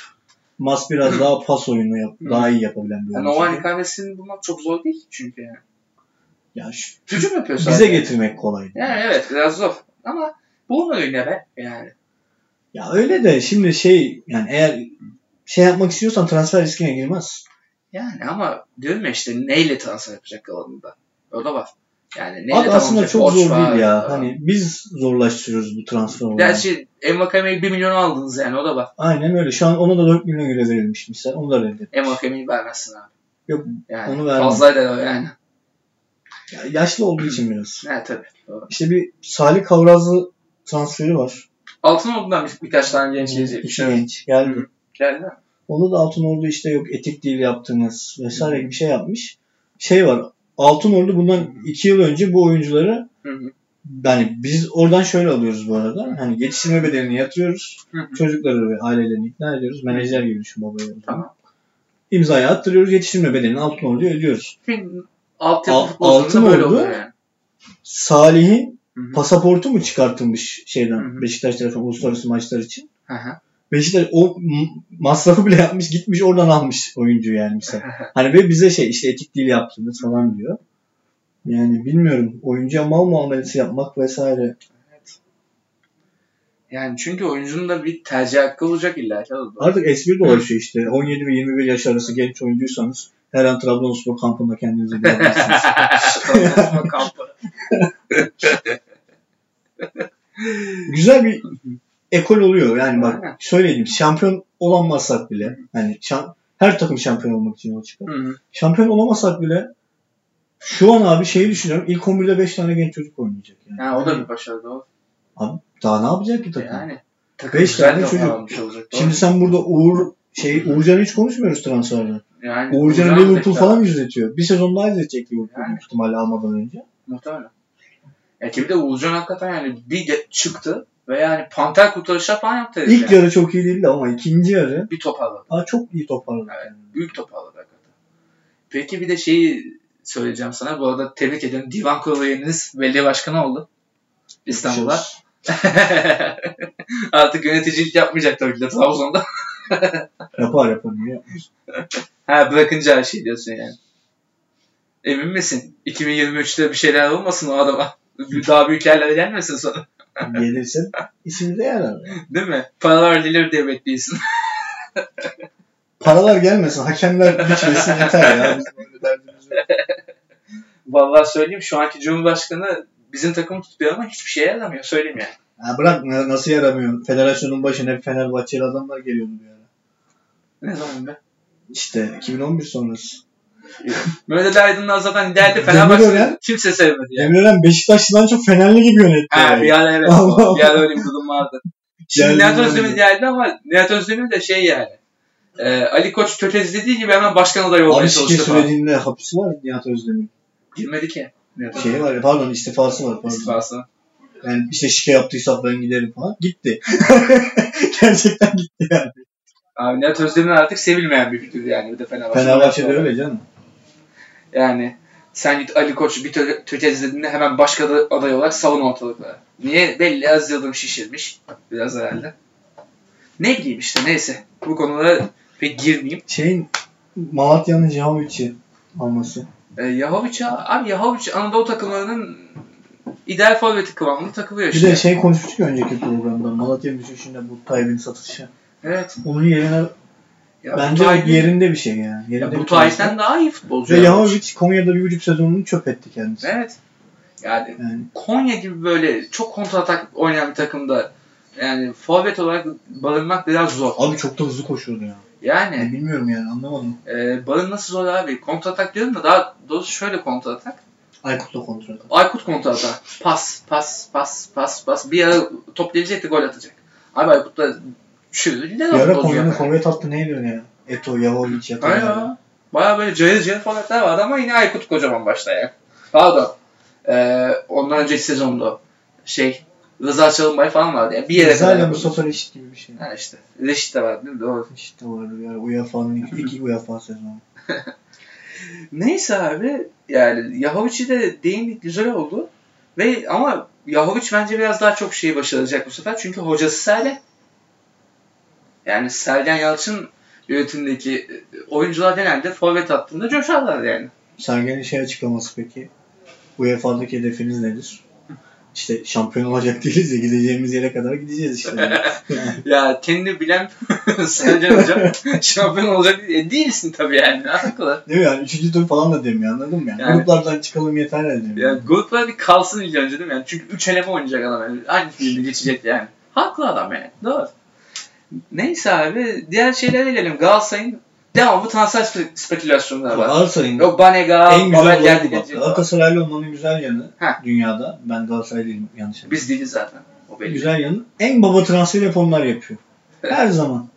Speaker 2: Mas biraz daha pas oyunu yap,
Speaker 1: Hı.
Speaker 2: daha iyi yapabilen bir
Speaker 1: yani
Speaker 2: oyuncu.
Speaker 1: Nova'nın kahvesini bulmak çok zor değil çünkü yani.
Speaker 2: Ya şu-
Speaker 1: Hücum yapıyor sadece.
Speaker 2: bize getirmek kolay.
Speaker 1: Yani evet biraz zor. Ama bulma önüne be yani.
Speaker 2: Ya öyle de şimdi şey yani eğer şey yapmak istiyorsan transfer riskine girmez.
Speaker 1: Yani ama diyorum ya işte neyle transfer yapacak kalanında. O da var. Yani neyle
Speaker 2: Abi aslında
Speaker 1: tamamlayacak?
Speaker 2: çok
Speaker 1: Borç
Speaker 2: zor
Speaker 1: var,
Speaker 2: değil ya.
Speaker 1: var.
Speaker 2: Hani biz zorlaştırıyoruz bu transfer olayını.
Speaker 1: Gerçi Emma Kame'yi 1 milyon aldınız yani o da var.
Speaker 2: Aynen öyle. Şu an ona da 4 milyon euro verilmiş mesela. Onu da reddet.
Speaker 1: Emma Kame'yi vermezsin abi.
Speaker 2: Yok,
Speaker 1: Yani
Speaker 2: onu vermem.
Speaker 1: Fazlaydı o yani.
Speaker 2: Ya yaşlı olduğu için biraz.
Speaker 1: Evet tabii. Doğru.
Speaker 2: İşte bir Salih Kavrazlı transferi var.
Speaker 1: Altın olduğundan bir, birkaç tane genç gelecek.
Speaker 2: İki genç geldi.
Speaker 1: Hı. Geldi.
Speaker 2: Onda da Altınordu işte yok etik değil yaptınız vesaire gibi bir şey yapmış. Şey var. Altınordu bundan 2 yıl önce bu oyuncuları
Speaker 1: Hı hı.
Speaker 2: yani biz oradan şöyle alıyoruz bu arada. Hani geliştirme bedelini yatırıyoruz.
Speaker 1: Hı hı.
Speaker 2: Çocukları ve ailelerini ikna ediyoruz. Menajer gibi düşün babayı.
Speaker 1: Tamam.
Speaker 2: İmzaya attırıyoruz. Yetiştirme bedelini Altınordu'ya ödüyoruz.
Speaker 1: Çünkü altyapı
Speaker 2: Al-
Speaker 1: futbolcunda
Speaker 2: altın
Speaker 1: böyle
Speaker 2: oldu.
Speaker 1: oluyor yani.
Speaker 2: Salih'in
Speaker 1: Hı hı.
Speaker 2: pasaportu mu çıkartılmış şeyden
Speaker 1: Hı hı.
Speaker 2: Beşiktaş tarafından uluslararası maçlar için?
Speaker 1: Hı hı.
Speaker 2: Beşiktaş o m- masrafı bile yapmış gitmiş oradan almış oyuncu yani mesela. Hani ve bize şey işte etik değil yaptınız falan diyor. Yani bilmiyorum oyuncuya mal muamelesi yapmak vesaire.
Speaker 1: Yani çünkü oyuncunun da bir tercih hakkı olacak illa ki. o da doğru.
Speaker 2: Artık espri dolaşıyor işte 17 ve 21 yaş arası genç oyuncuysanız her an Trabzonspor kampında kendinizi bulabilirsiniz.
Speaker 1: Trabzonspor kampı.
Speaker 2: Güzel bir ekol oluyor yani bak
Speaker 1: Aynen.
Speaker 2: söyleyeyim şampiyon olamazsak bile hani şam- her takım şampiyon olmak için yola çıkar.
Speaker 1: Hı hı.
Speaker 2: Şampiyon olamasak bile şu an abi şeyi düşünüyorum ilk 11'de 5 tane genç çocuk oynayacak yani.
Speaker 1: Ha, o da bir başarı doğru.
Speaker 2: Daha ne yapacak ki takım?
Speaker 1: Yani.
Speaker 2: Beş
Speaker 1: güzel
Speaker 2: tane
Speaker 1: de
Speaker 2: çocuk.
Speaker 1: almış olacak. doğru.
Speaker 2: Şimdi sen burada Uğur şey Uğurcan'ı hiç konuşmuyoruz transferde.
Speaker 1: yani,
Speaker 2: Uğurcan'ı
Speaker 1: Uğurcan'ı
Speaker 2: Liverpool
Speaker 1: da-
Speaker 2: falan izletiyor. Bir sezon daha izletecek Liverpool
Speaker 1: Yani.
Speaker 2: büyük ihtimalle almadan önce.
Speaker 1: Muhtemelen. Ya ki bir de Uğurcan hakikaten yani bir ge- çıktı ve yani panter kurtarışı falan yaptı. herif
Speaker 2: İlk
Speaker 1: yani.
Speaker 2: yarı çok iyi değildi ama ikinci yarı
Speaker 1: Bir toparladı.
Speaker 2: aa, çok iyi toparladı.
Speaker 1: Evet. Büyük toparladı hakikaten. Peki bir de şeyi söyleyeceğim sana. Bu arada tebrik ediyorum. Divan kurulu üyeniz belediye başkanı oldu. İstanbul'a. Artık yöneticilik yapmayacak tabii ki de Trabzon'da.
Speaker 2: Yapar yapar. Ya.
Speaker 1: Ha bırakınca her şey diyorsun yani. Emin misin? 2023'te bir şeyler olmasın o adama. Daha büyük yerlere gelmesin sonra.
Speaker 2: Gelirse ismi de yarar. yani.
Speaker 1: Değil mi? Paralar gelir diye bekliyorsun.
Speaker 2: Paralar gelmesin. Hakemler biçmesin yeter ya. Bizim öyle derdimiz yok.
Speaker 1: Vallahi söyleyeyim şu anki Cumhurbaşkanı bizim takımı tutuyor ama hiçbir şeye yaramıyor. Söyleyeyim yani.
Speaker 2: Ya bırak na- nasıl yaramıyor. Federasyonun başına hep Fenerbahçeli adamlar geliyordu bir ara.
Speaker 1: Ne zaman be?
Speaker 2: İşte 2011 sonrası.
Speaker 1: Mehmet Ali Aydın'dan zaten derdi
Speaker 2: Demirören-
Speaker 1: Fenerbahçe kimse sevmedi yani.
Speaker 2: Emre Eren Beşiktaşlı'dan çok Fenerli gibi yönetti.
Speaker 1: Ha
Speaker 2: yani.
Speaker 1: bir ara evet.
Speaker 2: Allah.
Speaker 1: bir ara öyle bir durum vardı. Şimdi
Speaker 2: Geldi
Speaker 1: Nihat
Speaker 2: yani.
Speaker 1: Özdemir geldi ama Nihat Özdemir de şey yani. E, Ali Koç tökez dediği gibi hemen başkan adayı olmaya
Speaker 2: Abi şike
Speaker 1: çalıştı falan.
Speaker 2: sürecinde hapisi var Nihat Özdemir'in.
Speaker 1: Girmedi ki. Nihat Özdemir.
Speaker 2: Şeyi var ya, pardon istifası Şey var. Pardon.
Speaker 1: İstifası.
Speaker 2: Yani işte şike yaptıysak ben giderim falan. Gitti. Gerçekten gitti yani.
Speaker 1: Abi Nihat Özdemir artık sevilmeyen bir figür yani. Bir de Fenerbahçe'de.
Speaker 2: Fenerbahçe'de öyle canım.
Speaker 1: Yani sen git Ali Koç bir tö- tökez dediğinde hemen başka aday- aday olarak savun ortalıkları. Niye? Belli az yıldım şişirmiş. Biraz herhalde. Ne bileyim işte neyse. Bu konulara pek girmeyeyim.
Speaker 2: Şeyin Malatya'nın Jahovic'i alması.
Speaker 1: E, Yahovic abi Yahovic Anadolu takımlarının ideal forveti kıvamında takılıyor
Speaker 2: Bir
Speaker 1: işte.
Speaker 2: de şey konuşmuştuk ya önceki programda. Malatya'nın düşüşünde bu Tayyip'in satışı.
Speaker 1: evet.
Speaker 2: Onun yerine
Speaker 1: Ya,
Speaker 2: bence
Speaker 1: bu Tayyip'in-
Speaker 2: yerinde bir şey yani. Yerinde
Speaker 1: ya, bu
Speaker 2: bir transfer.
Speaker 1: Tayyip'ten daha iyi futbolcu.
Speaker 2: Ve
Speaker 1: Yahovic.
Speaker 2: Jahovic Konya'da bir buçuk sezonunu çöp etti kendisi.
Speaker 1: Evet. Yani
Speaker 2: Yani
Speaker 1: Konya gibi böyle çok kontra atak oynayan bir takımda yani forvet olarak barınmak biraz zor.
Speaker 2: abi çok da hızlı koşuyordu ya.
Speaker 1: Yani
Speaker 2: Yani bilmiyorum yani anlamadım.
Speaker 1: e, barınması zor abi. Kontra atak diyorum da daha doğrusu şöyle kontra atak.
Speaker 2: Aykut'la kontrol.
Speaker 1: Aykut kontra atak. Pas, pas, pas, pas, pas. Bir ara toplayacak da gol atacak. Abi Aykut da çürüdü. gider o
Speaker 2: Bir ara
Speaker 1: futbolcu
Speaker 2: Konya'nın
Speaker 1: yani.
Speaker 2: forvet hattı neydi öyle ya? Eto, Yahovic, Yato.
Speaker 1: Hayır ya. Baya böyle cayır cayır formatlar vardı ama yine Aykut kocaman başta ya. Pardon. Ee, ondan önceki sezonda şey Rıza Çalınbay falan vardı. Yani bir yere kadar.
Speaker 2: Zayla
Speaker 1: yapıldı.
Speaker 2: Mustafa Reşit gibi bir şey.
Speaker 1: Ha işte. Reşit de vardı değil mi? Doğru.
Speaker 2: İşte vardı bir ara UEFA'nın ilk, ilk UEFA E sezonu.
Speaker 1: Neyse abi yani Yahovic'i de değindik güzel oldu. Ve ama Yahovic bence biraz daha çok şeyi başaracak bu sefer. Çünkü hocası Salih. Yani Sergen Yalçın e, yönetimindeki oyuncular genelde forvet hattında coşarlar yani.
Speaker 2: Sergen'in şey açıklaması peki. UEFA'daki hedefiniz nedir? İşte şampiyon olacak değiliz ya gideceğimiz yere kadar gideceğiz işte.
Speaker 1: Ya kendini bilen Sercan Hoca şampiyon olacak değil- e, değilsin tabii yani. Ne alakalı?
Speaker 2: Değil mi yani? Üçüncü tur falan da demiyor anladın mı? Yani,
Speaker 1: Yani-
Speaker 2: Gruplardan çıkalım yeter ya demiyor.
Speaker 1: Yani gruplar bir kalsın ilk önce değil mi? Yani çünkü 3 eleme oynayacak adam. Yani. Aynı filmi geçecek yani. Haklı adam yani. Doğru. Neyse abi diğer şeylere gelelim. Galatasaray'ın devamlı transfer spe- spekülasyonları var.
Speaker 2: Galatasaray'ın
Speaker 1: Yok Banega,
Speaker 2: en güzel
Speaker 1: Babel
Speaker 2: olayı
Speaker 1: geldi
Speaker 2: bu bak.
Speaker 1: gelecek.
Speaker 2: Galatasaraylı olmanın güzel yanı
Speaker 1: Heh.
Speaker 2: dünyada. Ben Galatasaray değilim yanlış
Speaker 1: Biz değiliz zaten. O belli.
Speaker 2: Güzel yanı en baba transfer yapanlar yapıyor. Her zaman.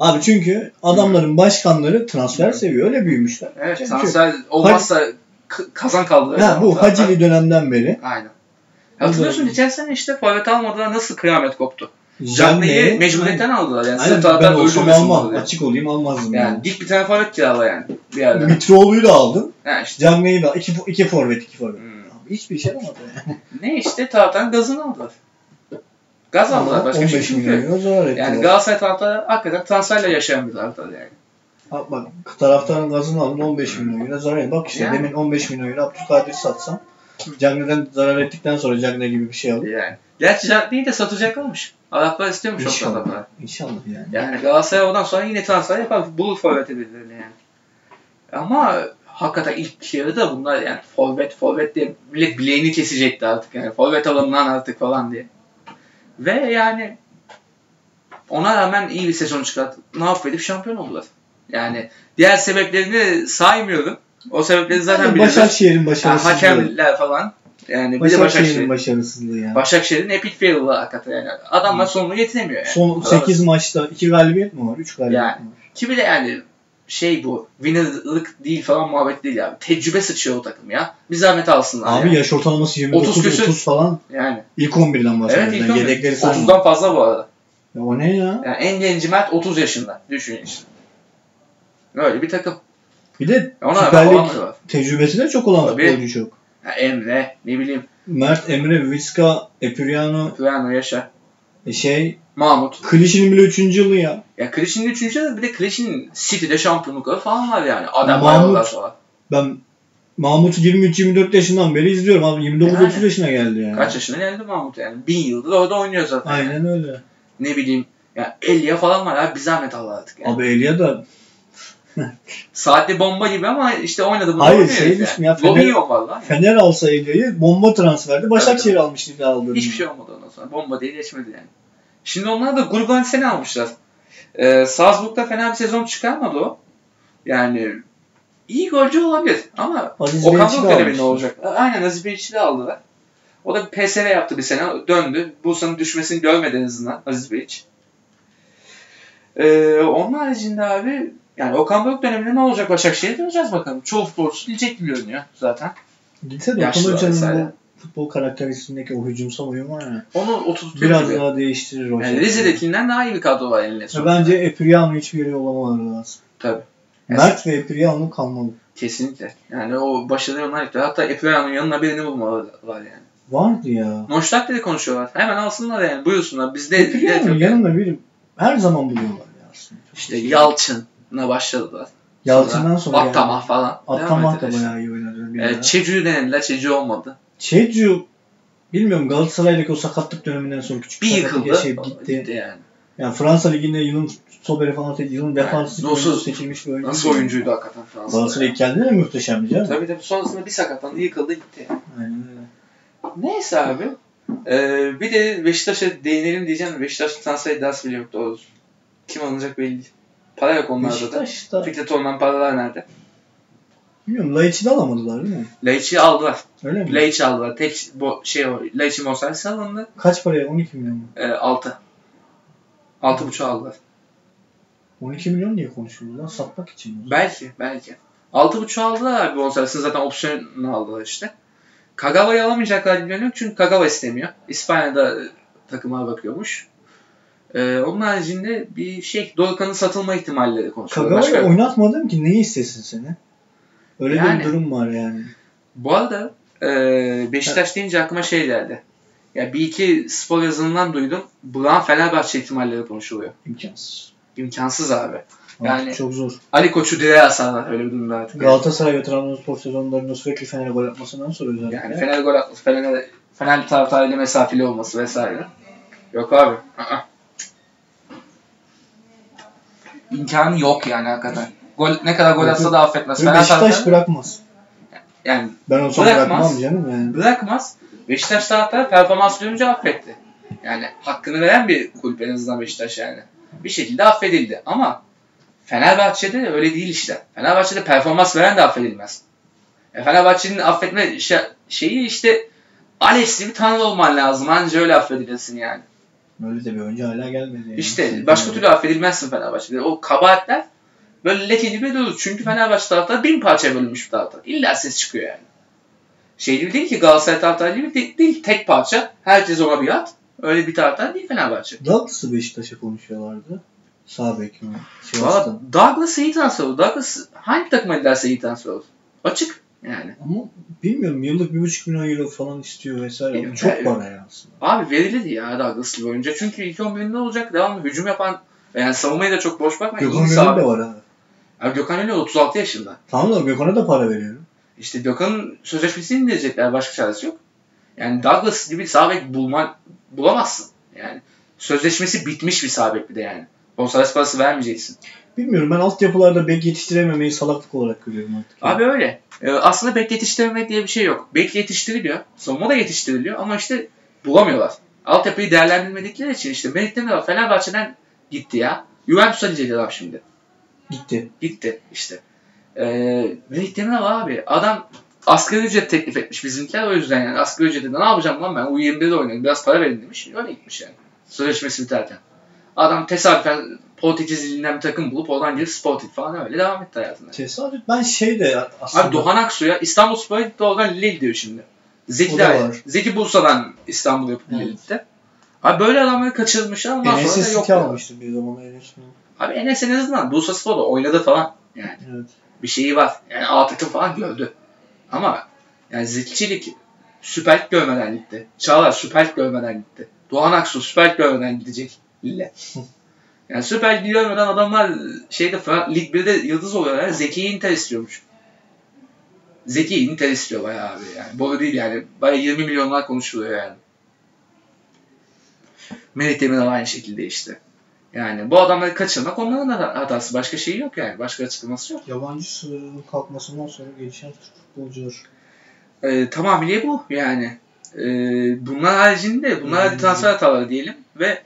Speaker 2: Abi çünkü adamların başkanları transfer seviyor. Öyle büyümüşler.
Speaker 1: Evet
Speaker 2: Çünkü-
Speaker 1: transfer olmazsa k- kazan kaldı.
Speaker 2: Ha, bu Hacili dönemden beri
Speaker 1: Aynen. Hatırlıyorsun geçen sene işte forvet almadan nasıl kıyamet koptu.
Speaker 2: Cagney'i-
Speaker 1: Cagney'i mecburiyetten aldılar yani.
Speaker 2: Aynen,
Speaker 1: Sırf
Speaker 2: ben
Speaker 1: taraftar
Speaker 2: olsam
Speaker 1: öldürmesin
Speaker 2: almam.
Speaker 1: diyordu yani.
Speaker 2: Açık olayım almazdım.
Speaker 1: Yani
Speaker 2: Yani.
Speaker 1: dik bir tane forvet kirala yani bir yerden.
Speaker 2: Mitroğlu'yu da aldım.
Speaker 1: Ha işte.
Speaker 2: Cagney'i de iki, iki forvet iki forvet.
Speaker 1: Hmm.
Speaker 2: Abi hiçbir şey yapamadı. yani.
Speaker 1: Ne işte taraftan gazını aldılar. Gaz aldılar başka bir
Speaker 2: 15
Speaker 1: şey
Speaker 2: milyon
Speaker 1: yok.
Speaker 2: euro zarar ettiler.
Speaker 1: Yani Galatasaray taraftarı hakikaten transferle yaşayan bir taraftar yani.
Speaker 2: Ha, bak taraftarın gazını aldın 15 milyon euro zarar ettin. Bak işte
Speaker 1: Yani.
Speaker 2: demin 15 milyon euro Abdülkadir satsam Cagney'den zarar ettikten sonra Cagney gibi bir şey aldım.
Speaker 1: Yani. Gerçi Cagney'i de satacaklarmış. Araplar istiyormuş o
Speaker 2: İnşallah.
Speaker 1: taraftarı.
Speaker 2: İnşallah yani.
Speaker 1: Yani Galatasaray oradan sonra yine transfer yapar. Bulur forvet edilirlerini yani. Ama hakikaten ilk yarıda bunlar yani forvet forvet diye millet bileğini kesecekti artık. Yani forvet alın lan artık falan diye. Ve yani ona rağmen iyi bir sezon çıkarttı. Ne yapıp şampiyon oldular. Yani diğer sebeplerini saymıyorum. O sebepleri zaten
Speaker 2: Yani
Speaker 1: biliyoruz.
Speaker 2: Başakşehir'in
Speaker 1: Yani
Speaker 2: başarısızlığı.
Speaker 1: hakemler falan. Yani bir de Başakşehir.
Speaker 2: Başakşehir'in başarısızlığı yani.
Speaker 1: Başakşehir'in epic fail'ı hakikaten yani. Adamlar sonunu yetinemiyor yani.
Speaker 2: Son 8 maçta 2 galibiyet mi var? 3 galibiyet
Speaker 1: Yani.
Speaker 2: mi var?
Speaker 1: Ki bir de yani şey bu winner'lık değil falan muhabbet değil abi. Tecrübe sıçıyor o takım ya. Bir zahmet alsınlar
Speaker 2: Abi
Speaker 1: ya.
Speaker 2: yaş ortalaması 20
Speaker 1: 30
Speaker 2: 30,
Speaker 1: küsür.
Speaker 2: 30 falan.
Speaker 1: Yani.
Speaker 2: İlk 11'den
Speaker 1: Evet
Speaker 2: başlıyoruz.
Speaker 1: ilk
Speaker 2: yani
Speaker 1: on-
Speaker 2: yedekleri sayma.
Speaker 1: 30'dan fazla bu arada.
Speaker 2: Ya o ne ya?
Speaker 1: Yani en genci Mert 30 yaşında. Düşünün işte. Böyle bir takım.
Speaker 2: Bir de
Speaker 1: Ona
Speaker 2: Süper
Speaker 1: rağmen
Speaker 2: Lig
Speaker 1: olanları var.
Speaker 2: tecrübesi de çok olan
Speaker 1: Tabii.
Speaker 2: futbolcu çok.
Speaker 1: Ya Emre, ne bileyim,
Speaker 2: Mert, Emre, Viska, Epiriano,
Speaker 1: Furano, Yaşar,
Speaker 2: şey,
Speaker 1: Mahmut.
Speaker 2: Klişin'in bile 3. yılı ya.
Speaker 1: Ya Krişin'in 3. de bir de Krişin'in City'de şampiyonlukları falan var yani. Adam
Speaker 2: Mahmut.
Speaker 1: Mahmut. falan.
Speaker 2: Ben Mahmut'u 23-24 yaşından beri izliyorum abi. 29-30
Speaker 1: Yani.
Speaker 2: yaşına geldi yani.
Speaker 1: Kaç yaşına geldi Mahmut yani. Bin yıldır orada oynuyor zaten.
Speaker 2: Aynen öyle.
Speaker 1: Ne bileyim. Ya Elia falan var abi. Bir zahmet al artık. Yani.
Speaker 2: Abi Elia da
Speaker 1: Saatli bomba gibi ama işte oynadı bunu.
Speaker 2: Hayır,
Speaker 1: oynuyor
Speaker 2: şey
Speaker 1: yani.
Speaker 2: düşün ya, Fener-
Speaker 1: Robinho var lan.
Speaker 2: Fener alsa Elia'yı bomba transferdi. Başakşehir almıştı daha aldığını.
Speaker 1: Hiçbir şey olmadı ondan sonra. Bomba değil geçmedi yani. Şimdi onlar da Gurban seni almışlar. Ee, Salzburg'da fena bir sezon çıkarmadı o. Yani iyi golcü olabilir ama
Speaker 2: Aziz
Speaker 1: Okan
Speaker 2: Beyçi de
Speaker 1: Buruk dönemi ne
Speaker 2: almışlar.
Speaker 1: olacak? A- Aynen Aziz Beyçi de aldılar. O da bir PSV yaptı bir sene. Döndü. Bursa'nın düşmesini görmedi en azından Aziz Beyç. Ee, onun haricinde abi yani Okan Buruk döneminde ne olacak Başakşehir'e göreceğiz bakalım. Çoğu futbolcu gidecek gibi görünüyor zaten.
Speaker 2: Gitse de
Speaker 1: Yaşlı
Speaker 2: Okan Hoca'nın
Speaker 1: vesaire.
Speaker 2: bu futbol karakteristindeki o hücumsal oyun var ya.
Speaker 1: Onu oturtuyor
Speaker 2: Biraz
Speaker 1: gibi.
Speaker 2: daha değiştirir hoca.
Speaker 1: Yani Rize'dekinden daha iyi bir kadro var eline
Speaker 2: Ya
Speaker 1: sonunda.
Speaker 2: bence Epiriano hiçbir yere yollamaları lazım.
Speaker 1: Tabii.
Speaker 2: Mert ve Epiriano kalmalı.
Speaker 1: Kesinlikle. Yani o başarılı onlar yoktu. Hatta Epeyan'ın yanına birini bulmalılar yani.
Speaker 2: Vardı ya.
Speaker 1: Noştak dedi konuşuyorlar. Hemen alsınlar yani. Buyursunlar. Biz de...
Speaker 2: Epiriano'nun
Speaker 1: de-
Speaker 2: yanında biri her zaman buluyorlar ya aslında. Çok
Speaker 1: İşte
Speaker 2: iyi.
Speaker 1: Yalçın'la başladılar.
Speaker 2: Yalçın'dan sonra yani.
Speaker 1: Attamah falan.
Speaker 2: Attamah da
Speaker 1: Devam ettiler
Speaker 2: bayağı iyi oynadı. bir
Speaker 1: işte.
Speaker 2: ara.
Speaker 1: Ee, Çecu'yu denediler. Çecu olmadı.
Speaker 2: Çecu bilmiyorum Galatasaray'daki o sakatlık döneminden sonra küçük
Speaker 1: Bir
Speaker 2: sakatlık
Speaker 1: yıkıldı.
Speaker 2: yaşayıp
Speaker 1: gitti.
Speaker 2: gitti.
Speaker 1: yani.
Speaker 2: Yani Fransa Ligi'nde yılın soberi falan seç- yılın defansif
Speaker 1: nasıl-
Speaker 2: oyuncusu seçilmiş bir oyuncu.
Speaker 1: Nasıl oyuncuydu hakikaten Fransa'da.
Speaker 2: Galatasaray kendine de muhteşem bir canım.
Speaker 1: Tabii tabii. Sonrasında bir sakatlandı. Yıkıldı gitti. yani.
Speaker 2: Aynen öyle.
Speaker 1: Neyse abi. Ee, bir de Beşiktaş'a değinelim diyeceğim. Beşiktaş transfer iddiası bile yok doğrusu. Kim alınacak belli değil. Para yok onlarda da.
Speaker 2: Beşiktaş'ta
Speaker 1: Fikret Orman paralar nerede?
Speaker 2: bilmiyorum Laiç'i de alamadılar değil mi?
Speaker 1: Laiç'i aldılar.
Speaker 2: Öyle mi?
Speaker 1: Laiç'i aldılar. Tek bu şey o. Laiç'i Monservis alındı.
Speaker 2: Kaç paraya? 12 milyon mu?
Speaker 1: E, 6. 6.5 aldılar.
Speaker 2: 12 milyon diye konuşuyoruz lan satmak için. mi?
Speaker 1: Belki. Belki. 6.5 aldılar abi Monservis'in zaten opsiyonunu aldılar işte. Kagawa'yı alamayacaklar bilmiyorum çünkü Kagawa istemiyor. İspanya'da e, takıma bakıyormuş. E, onun haricinde bir şey Dorukhan'ın satılma ihtimalleri konuşuyorlar.
Speaker 2: Kagawa'yı
Speaker 1: Başka-
Speaker 2: oynatmadım ki ne istesin seni? Öyle de
Speaker 1: Yani.
Speaker 2: bir durum var yani.
Speaker 1: Bu arada e, Beşiktaş deyince aklıma şey geldi. Ya bir iki spor yazılımından duydum. Buran Fenerbahçe ihtimalleri konuşuluyor.
Speaker 2: İmkansız.
Speaker 1: İmkansız abi. Yani-
Speaker 2: çok zor.
Speaker 1: Ali Koç'u direğe asarlar öyle bir durumda artık.
Speaker 2: Galatasaray ve Trabzonspor sezonlarında sürekli Fener'e gol atmasından sonra özellikle.
Speaker 1: Yani Fener gol atması, Fener, Fener taraftarıyla mesafeli olması vesaire. Yok abi. ı-ı. İmkanı yok yani hakikaten. Gol, ne kadar gol atsa da affetmez.
Speaker 2: Ve
Speaker 1: Fener
Speaker 2: Beşiktaş
Speaker 1: taraftarı
Speaker 2: bırakmaz.
Speaker 1: yani
Speaker 2: Ben olsam
Speaker 1: Bırakmaz.
Speaker 2: bırakmam canım yani.
Speaker 1: bırakmaz. Beşiktaş taraftarı performans görünce affetti. Yani hakkını veren bir kulüp en azından Beşiktaş yani. Bir şekilde affedildi ama Fenerbahçe'de öyle değil işte. Fenerbahçe'de performans veren de affedilmez. E, Fenerbahçe'nin affetme şe- şeyi işte Alex'i bir tanrı olman lazım. Anca öyle affedilirsin yani.
Speaker 2: Öyle de bir oyuncu hala gelmedi. Yani.
Speaker 1: İşte başka türlü affedilmezsin Fenerbahçe'de. O kabahatler böyle leke gibi durur. Çünkü Fenerbahçe taraftarı bin parçaya bölünmüş bir taraftar. İlla ses çıkıyor yani. Şey gibi değil ki Galatasaray taraftarı gibi değil, değil. Tek parça. Herkes ona bir at. Öyle bir taraftar değil Fenerbahçe.
Speaker 2: Douglas'ı Beşiktaş'a konuşuyorlardı. Sağ bek mi?
Speaker 1: Valla
Speaker 2: Sivas'tan.
Speaker 1: Douglas iyi transfer olur. Douglas hangi takıma giderse iyi transfer olur. Açık yani.
Speaker 2: Ama bilmiyorum yıllık bir buçuk milyon euro falan istiyor vesaire.
Speaker 1: Evet,
Speaker 2: çok
Speaker 1: evet.
Speaker 2: para ya aslında.
Speaker 1: Abi verildi ya Douglas'lı bir oyuncu. Çünkü ilk 11'inde olacak. Devamlı hücum yapan yani savunmaya da çok boş bakmayın.
Speaker 2: Gökhan
Speaker 1: Gökhan
Speaker 2: Gönül de
Speaker 1: Ünlü
Speaker 2: var abi.
Speaker 1: Gökhan Ünlü 36 yaşında.
Speaker 2: Tamam da Gökhan'a da para veriyorum.
Speaker 1: İşte Gökhan'ın sözleşmesini indirecekler. Başka çaresi yok. Yani Douglas gibi sağ bek bulman, bulamazsın. Yani sözleşmesi bitmiş bir sağ bek bir de yani. Bonservis parası vermeyeceksin.
Speaker 2: Bilmiyorum ben altyapılarda bek yetiştirememeyi salaklık olarak görüyorum artık.
Speaker 1: Abi öyle. Ee, aslında bek yetiştirmemek diye bir şey yok. Bek yetiştiriliyor. Savunma da yetiştiriliyor ama işte bulamıyorlar. Altyapıyı değerlendirmedikleri için işte Melih'ten de var. Fenerbahçe'den gitti ya. Juventus'a gidecek adam şimdi.
Speaker 2: Gitti.
Speaker 1: Gitti işte. Ee, Melih Demiral abi adam asgari ücret teklif etmiş bizimkiler o yüzden yani asgari ücrete de ne yapacağım lan ben U21'de oynayayım biraz para verin demiş öyle gitmiş yani sözleşmesi biterken. Adam tesadüfen Portekiz ilinden bir takım bulup oradan gelip Sporting falan öyle devam etti hayatında.
Speaker 2: Tesadüf ben şey de aslında.
Speaker 1: Abi Doğan Aksu'ya İstanbul Spor'a gitti oradan Lille diyor şimdi.
Speaker 2: O
Speaker 1: Zeki,
Speaker 2: da
Speaker 1: de-
Speaker 2: var.
Speaker 1: Zeki Bursa'dan İstanbul yapıp
Speaker 2: Evet.
Speaker 1: Lille'ye gitti. Abi böyle adamları kaçırmışlar ondan sonra da
Speaker 2: Enes'i
Speaker 1: yok.
Speaker 2: City almıştı bir zaman Enes'i.
Speaker 1: Abi Enes en azından Bursa Spor'da oynadı falan yani
Speaker 2: Evet.
Speaker 1: bir şeyi var. Yani A takım falan gördü. Ama yani Zilçilik Süper Lig görmeden gitti. Çağlar Süper Lig görmeden gitti. Doğan Aksu Süper Lig görmeden gidecek. Lille. Yani Süper Lig görmeden adamlar şeyde falan, Lig 1'de yıldız oluyorlar. Zeki'yi Inter istiyormuş. Zeki Inter istiyor bayağı abi yani. Boru değil yani. Bayağı 20 milyonlar konuşuluyor yani. Melih Demiral aynı şekilde işte. Yani bu adamları kaçırmak onların da hatası. Başka şeyi yok yani. Başka açıklaması yok.
Speaker 2: Yabancı sınırının kalkmasından sonra gelişen Türk futbolcular.
Speaker 1: e, tamamıyla bu yani. E, bunlar haricinde bunlar hadi transfer hataları diyelim ve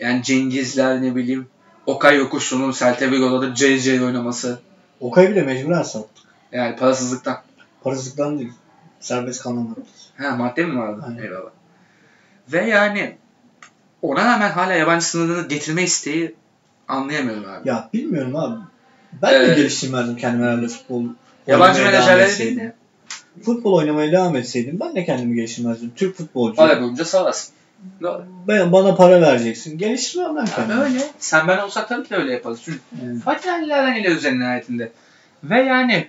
Speaker 1: yani Cengizler ne bileyim Okay Yokusu'nun Celta Vigo'da CC oynaması
Speaker 2: Okay bile mecburen sattı.
Speaker 1: yani parasızlıktan.
Speaker 2: Parasızlıktan değil. Serbest kalmamak.
Speaker 1: Ha madde mi vardı?
Speaker 2: Aynen.
Speaker 1: Eyvallah. Ve yani ona rağmen hala yabancı sınırını getirme isteği anlayamıyorum abi.
Speaker 2: Ya bilmiyorum abi. Ben de
Speaker 1: Ee,
Speaker 2: geliştirmezdim kendimi herhalde futbol.
Speaker 1: yabancı
Speaker 2: oynamaya devam
Speaker 1: menajerleri değil
Speaker 2: etseydim.
Speaker 1: de
Speaker 2: Futbol oynamaya devam etseydim ben de kendimi geliştirmezdim. Türk futbolcu.
Speaker 1: para bulunca sağlasın. Doğru.
Speaker 2: Ben, bana para vereceksin. Geliştirmem ben
Speaker 1: Abi
Speaker 2: kendimi.
Speaker 1: öyle. Sen ben olsak tabii ki de öyle yaparız. Çünkü
Speaker 2: Yani.
Speaker 1: Fatih Ali Erden ile üzerine nihayetinde. Ve yani